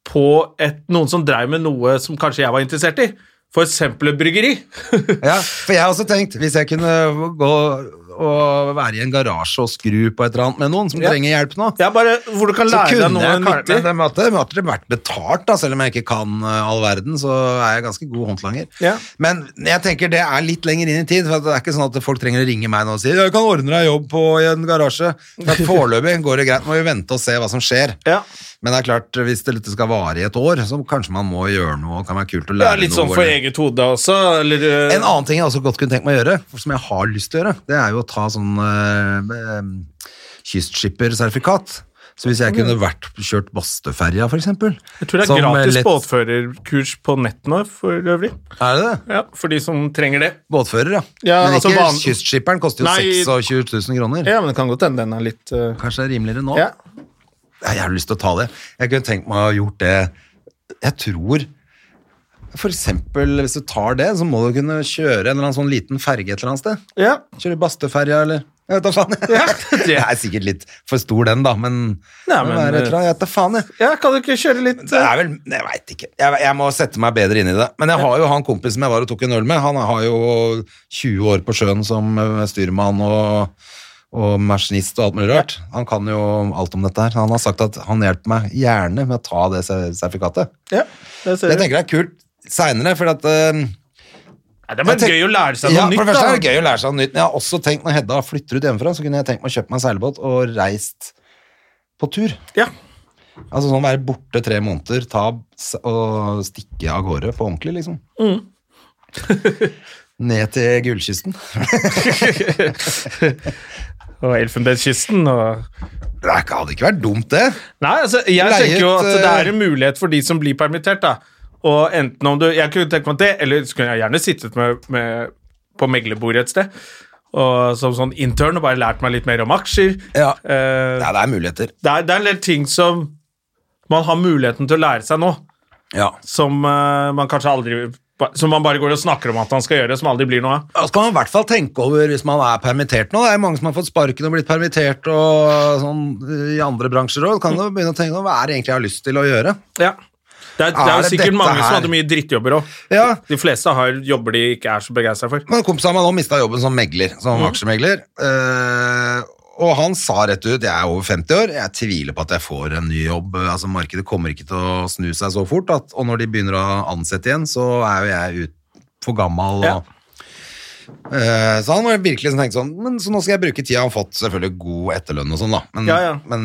Speaker 2: på et, noen som dreiv med noe som kanskje jeg var interessert i. For eksempel et bryggeri.
Speaker 1: Ja, for jeg har også tenkt, hvis jeg kunne gå og være i en garasje og skru på et eller annet med noen som
Speaker 2: Ja.
Speaker 1: trenger hjelp nå,
Speaker 2: Jeg bare, hvor du kan
Speaker 1: så
Speaker 2: lære deg
Speaker 1: kunne
Speaker 2: noe
Speaker 1: jeg kanskje,
Speaker 2: nyttig.
Speaker 1: men det måtte, måtte det vært betalt da, selv om jeg ikke kan eh, all verden, så er jeg ganske god håndlanger.
Speaker 2: Ja.
Speaker 1: Men jeg tenker det er litt lenger inn i tid, for at det er ikke sånn at folk trenger å ringe meg nå og si, jeg kan ordne deg jobb på i en garasje. Men foreløpig går det greit, må vi vente og se hva som skjer.
Speaker 2: Ja.
Speaker 1: Men det er klart, hvis det skal vare i et år, så kanskje man må gjøre noe, og kan være kult å
Speaker 2: Det
Speaker 1: lære
Speaker 2: er litt
Speaker 1: noe.
Speaker 2: sånn for
Speaker 1: eller-
Speaker 2: eget hode også. Eller, eh,
Speaker 1: en annen ting jeg også godt kunne tenkt meg å gjøre, som jeg har lyst til å gjøre, det er jo å ta sånn eh, eh, kystskippersertifikat. Så hvis jeg kunne vært, kjørt Bastøferja, for eksempel
Speaker 2: jeg tror det
Speaker 1: som,
Speaker 2: er gratis
Speaker 1: eh, lett-
Speaker 2: båtførerkurs på nett nå, for øvrig.
Speaker 1: Er det det?
Speaker 2: Ja, For de som trenger det.
Speaker 1: Båtfører, ja.
Speaker 2: Ja,
Speaker 1: men
Speaker 2: altså
Speaker 1: ikke
Speaker 2: van-
Speaker 1: kystskipperen koster jo
Speaker 2: Nei.
Speaker 1: 26 000 kroner.
Speaker 2: Ja, men det kan godt hende den er litt eh,
Speaker 1: Kanskje det er rimeligere nå.
Speaker 2: ja.
Speaker 1: Ja, Jeg har lyst til å ta det. Jeg kunne tenkt meg å ha gjort det Jeg tror for eksempel, hvis du tar det, så må du kunne kjøre en eller annen sånn liten ferge et eller annet sted.
Speaker 2: ja.
Speaker 1: Kjøre Bastøferja, eller? Jeg vet da faen. det er sikkert litt for stor, den, da, men,
Speaker 2: Nei,
Speaker 1: men eh,
Speaker 2: men,
Speaker 1: være, tror jeg, jeg vet da faen, jeg.
Speaker 2: Ja, kan du ikke kjøre litt eh,
Speaker 1: Det er vel Jeg veit ikke. Jeg, jeg må sette meg bedre inn i det. Men jeg har jo han kompisen som jeg var og tok en øl med. Han har jo 20 år på sjøen som eh, styrmann og, og maskinist og alt mulig rart. Han kan jo alt om dette her. Han har sagt at han hjelper meg gjerne med å ta det ser- sertifikatet.
Speaker 2: Ja, det ser
Speaker 1: Det
Speaker 2: du.
Speaker 1: tenker jeg er kult seinere, for at eh,
Speaker 2: Nei, det er bare
Speaker 1: Jeg tenk-
Speaker 2: gøy å lære seg noe
Speaker 1: Ja,
Speaker 2: nytt.
Speaker 1: for det første
Speaker 2: da.
Speaker 1: er det gøy å lære seg noe nytt. Men jeg har også tenkt, når Hedda flytter ut hjemmefra, så kunne jeg tenkt meg å kjøpe meg en seilbåt og reist på tur.
Speaker 2: Ja.
Speaker 1: Altså sånn være borte tre måneder, ta s- og stikke av gårde på ordentlig, liksom. Ned til gullkysten.
Speaker 2: Og Elfenbenskysten og
Speaker 1: Det er ikke- hadde ikke vært dumt, det.
Speaker 2: Nei, altså, jeg
Speaker 1: Leiet,
Speaker 2: tenker jo at det
Speaker 1: eh,
Speaker 2: er en mulighet for de som blir permittert, da. Og enten om du Jeg kunne tenkt meg det, eller så kunne jeg gjerne sittet med, med, på meglerbordet et sted. Og som sånn intern og bare lært meg litt mer om aksjer.
Speaker 1: Ja.
Speaker 2: Eh,
Speaker 1: Nei, det er muligheter.
Speaker 2: det, er, det er en del ting som man har muligheten til å lære seg nå,
Speaker 1: Ja.
Speaker 2: som eh, man kanskje aldri Som man bare går og snakker om at man skal gjøre, som aldri blir noe av.
Speaker 1: Ja, så kan man i hvert fall tenke over hvis man er permittert nå. Det er jo mange som har fått sparken og blitt permittert og sånn eh, i andre bransjer òg. Kan du begynne å tenke over hva er det egentlig jeg har lyst til å gjøre?
Speaker 2: Ja. Det er, det er
Speaker 1: Er
Speaker 2: jo
Speaker 1: det
Speaker 2: sikkert
Speaker 1: dette
Speaker 2: mange som
Speaker 1: her?
Speaker 2: hadde mye drittjobber òg.
Speaker 1: Ja,
Speaker 2: De fleste har jobber de ikke er så begeistra for.
Speaker 1: men Kompisen av meg nå mista jobben som megler, som aksjemegler. Eh, og han sa rett ut jeg er over 50 år, jeg tviler på at jeg får en ny jobb. Altså Markedet kommer ikke til å snu seg så fort, at, og når de begynner å ansette igjen, så er jo jeg ut for gammel. Og,
Speaker 2: Ja.
Speaker 1: Eh, så han var virkelig sånn tenkt sånn men, Så nå skal jeg bruke tida. Han har fått selvfølgelig god etterlønn og sånn, da. Men,
Speaker 2: Ja, ja.
Speaker 1: men,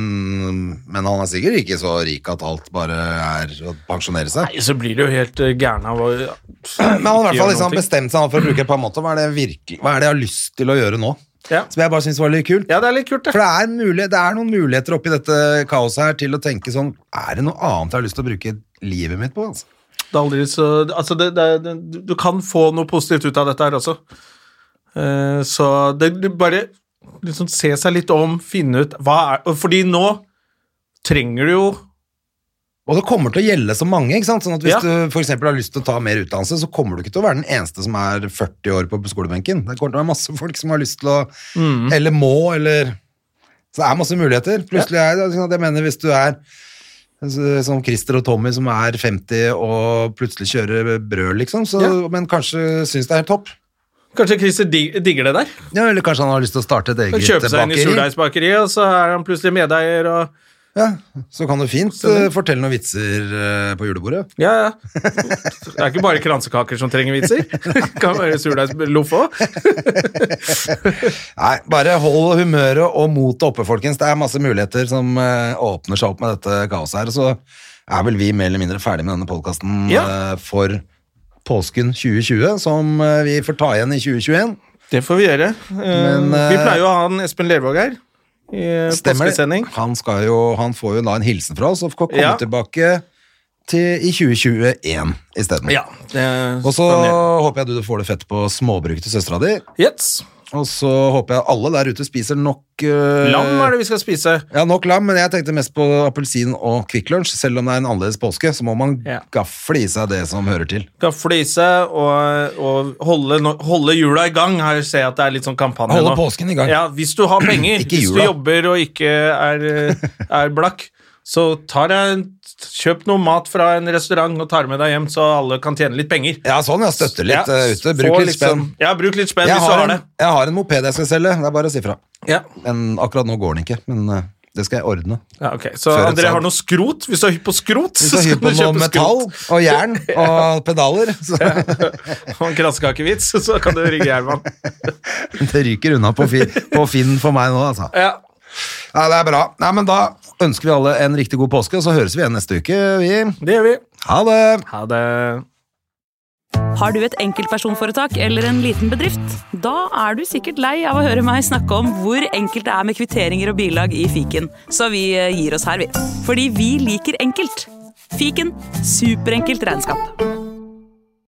Speaker 1: men han er sikkert ikke så rik at alt bare er å pensjonere seg.
Speaker 2: Nei, så blir du jo helt eh, gæren av å
Speaker 1: Men han har i hvert
Speaker 2: Gjør
Speaker 1: fall liksom
Speaker 2: noen ting.
Speaker 1: bestemt seg for å bruke et par måter. Hva er det jeg, virkelig, hva er det jeg har lyst til å gjøre nå?
Speaker 2: Ja.
Speaker 1: Som jeg bare syns var litt kult.
Speaker 2: ja, det er litt kult,
Speaker 1: For
Speaker 2: det.
Speaker 1: det er, mulig, det er noen muligheter oppi dette kaoset her til å tenke sånn Er det noe annet jeg har lyst til å bruke livet mitt på? Altså?
Speaker 2: det, er aldri så, altså det, det, er- det du kan få noe positivt ut av dette her også. Eh, så det, du bare liksom se seg litt om, finne ut hva er og Fordi nå trenger du jo
Speaker 1: Og det kommer til å gjelde så mange. ikke sant? Sånn at Hvis
Speaker 2: Ja.
Speaker 1: du for eksempel har lyst til å ta mer utdannelse, så kommer du ikke til å være den eneste som er 40 år på skolebenken. Det kommer til å være masse folk som har lyst til å
Speaker 2: Mm.
Speaker 1: Eller må, eller Så det er masse muligheter. Plutselig er det sånn at jeg mener hvis du er så- som Christer og Tommy som er 50 og plutselig kjører brød, liksom, så,
Speaker 2: Ja.
Speaker 1: men kanskje syns det er helt topp.
Speaker 2: Kanskje Christer dig- digger det der?
Speaker 1: Ja, eller kanskje han har lyst til å starte et
Speaker 2: Kan
Speaker 1: eget
Speaker 2: kjøpe seg inn i
Speaker 1: bakeri.
Speaker 2: surdeigsbakeriet, og så er han plutselig medeier og
Speaker 1: Ja, så kan du fint eh, fortelle noen vitser eh, på julebordet.
Speaker 2: Ja, ja. Det er ikke bare kransekaker som trenger vitser. Det kan være surdeigsloff òg.
Speaker 1: Nei, bare hold humøret og motet oppe, folkens. Det er masse muligheter som eh, åpner seg opp med dette kaoset her. Så er vel vi mer eller mindre ferdig med denne podkasten
Speaker 2: Ja.
Speaker 1: for påsken 2020, som eh, vi får ta igjen i 2021.
Speaker 2: Det får vi gjøre.
Speaker 1: Men, eh,
Speaker 2: vi pleier jo å ha en Espen Lervåg her. I eh,
Speaker 1: Stemmer det?
Speaker 2: påskesending.
Speaker 1: Han, skal jo, han får jo da en hilsen fra oss og får komme
Speaker 2: Ja.
Speaker 1: tilbake til, i 2021 isteden.
Speaker 2: Ja. det
Speaker 1: Og så
Speaker 2: skal han gjøre.
Speaker 1: håper jeg du får det fett på småbruket til søstera di.
Speaker 2: Yes.
Speaker 1: Og så håper jeg alle der ute spiser nok eh,
Speaker 2: Lam er det vi skal spise.
Speaker 1: Ja, nok lam, men jeg tenkte mest på appelsin og Kvikk Lunsj. Selv om det er en annerledes påske, så må man
Speaker 2: Ja.
Speaker 1: gafle i seg det som hører til.
Speaker 2: Gafle i seg og, og holde, no- holde jula i gang. Her ser jeg at det er litt sånn kampanje nå.
Speaker 1: Holde påsken i gang.
Speaker 2: Ja, hvis du har penger,
Speaker 1: Ikke
Speaker 2: hvis du
Speaker 1: jula.
Speaker 2: jobber og ikke er, eh, er blakk, så tar jeg, en- kjøp noe mat fra en restaurant og tar med deg hjem, så alle kan tjene litt penger.
Speaker 1: Ja, sånn, ja. Støtte litt
Speaker 2: Ja,
Speaker 1: eh, ute.
Speaker 2: få
Speaker 1: Bruk litt
Speaker 2: liksom-
Speaker 1: spenn.
Speaker 2: Ja, bruk litt spenn
Speaker 1: Jeg
Speaker 2: hvis du
Speaker 1: har,
Speaker 2: har
Speaker 1: en,
Speaker 2: det.
Speaker 1: jeg har en moped jeg skal selge. Det er bare å si fra.
Speaker 2: Ja.
Speaker 1: Men akkurat nå går den ikke, men eh, det skal jeg ordne.
Speaker 2: Ja, ok. Så
Speaker 1: Før et
Speaker 2: André har
Speaker 1: salg.
Speaker 2: noe skrot. Hvis du er hypp på skrot,
Speaker 1: Så hyr på noe metall og jern og pedaler. Så
Speaker 2: Og en kransekakevits, så kan du ringe Gjerman.
Speaker 1: det ryker unna på, fi, på Finn for meg nå, altså.
Speaker 2: Ja.
Speaker 1: Ja, det er bra. Nei, men da ønsker vi alle en riktig god påske, og så høres vi igjen neste uke, vi.
Speaker 2: Det gjør vi.
Speaker 1: Ha det!
Speaker 2: Ha det.
Speaker 3: Har du et enkeltpersonforetak eller en liten bedrift? Da er du sikkert lei av å høre meg snakke om hvor enkelt det er med kvitteringer og bilag i fiken, så vi eh, gir oss her, vi. Fordi vi liker enkelt. Fiken superenkelt regnskap.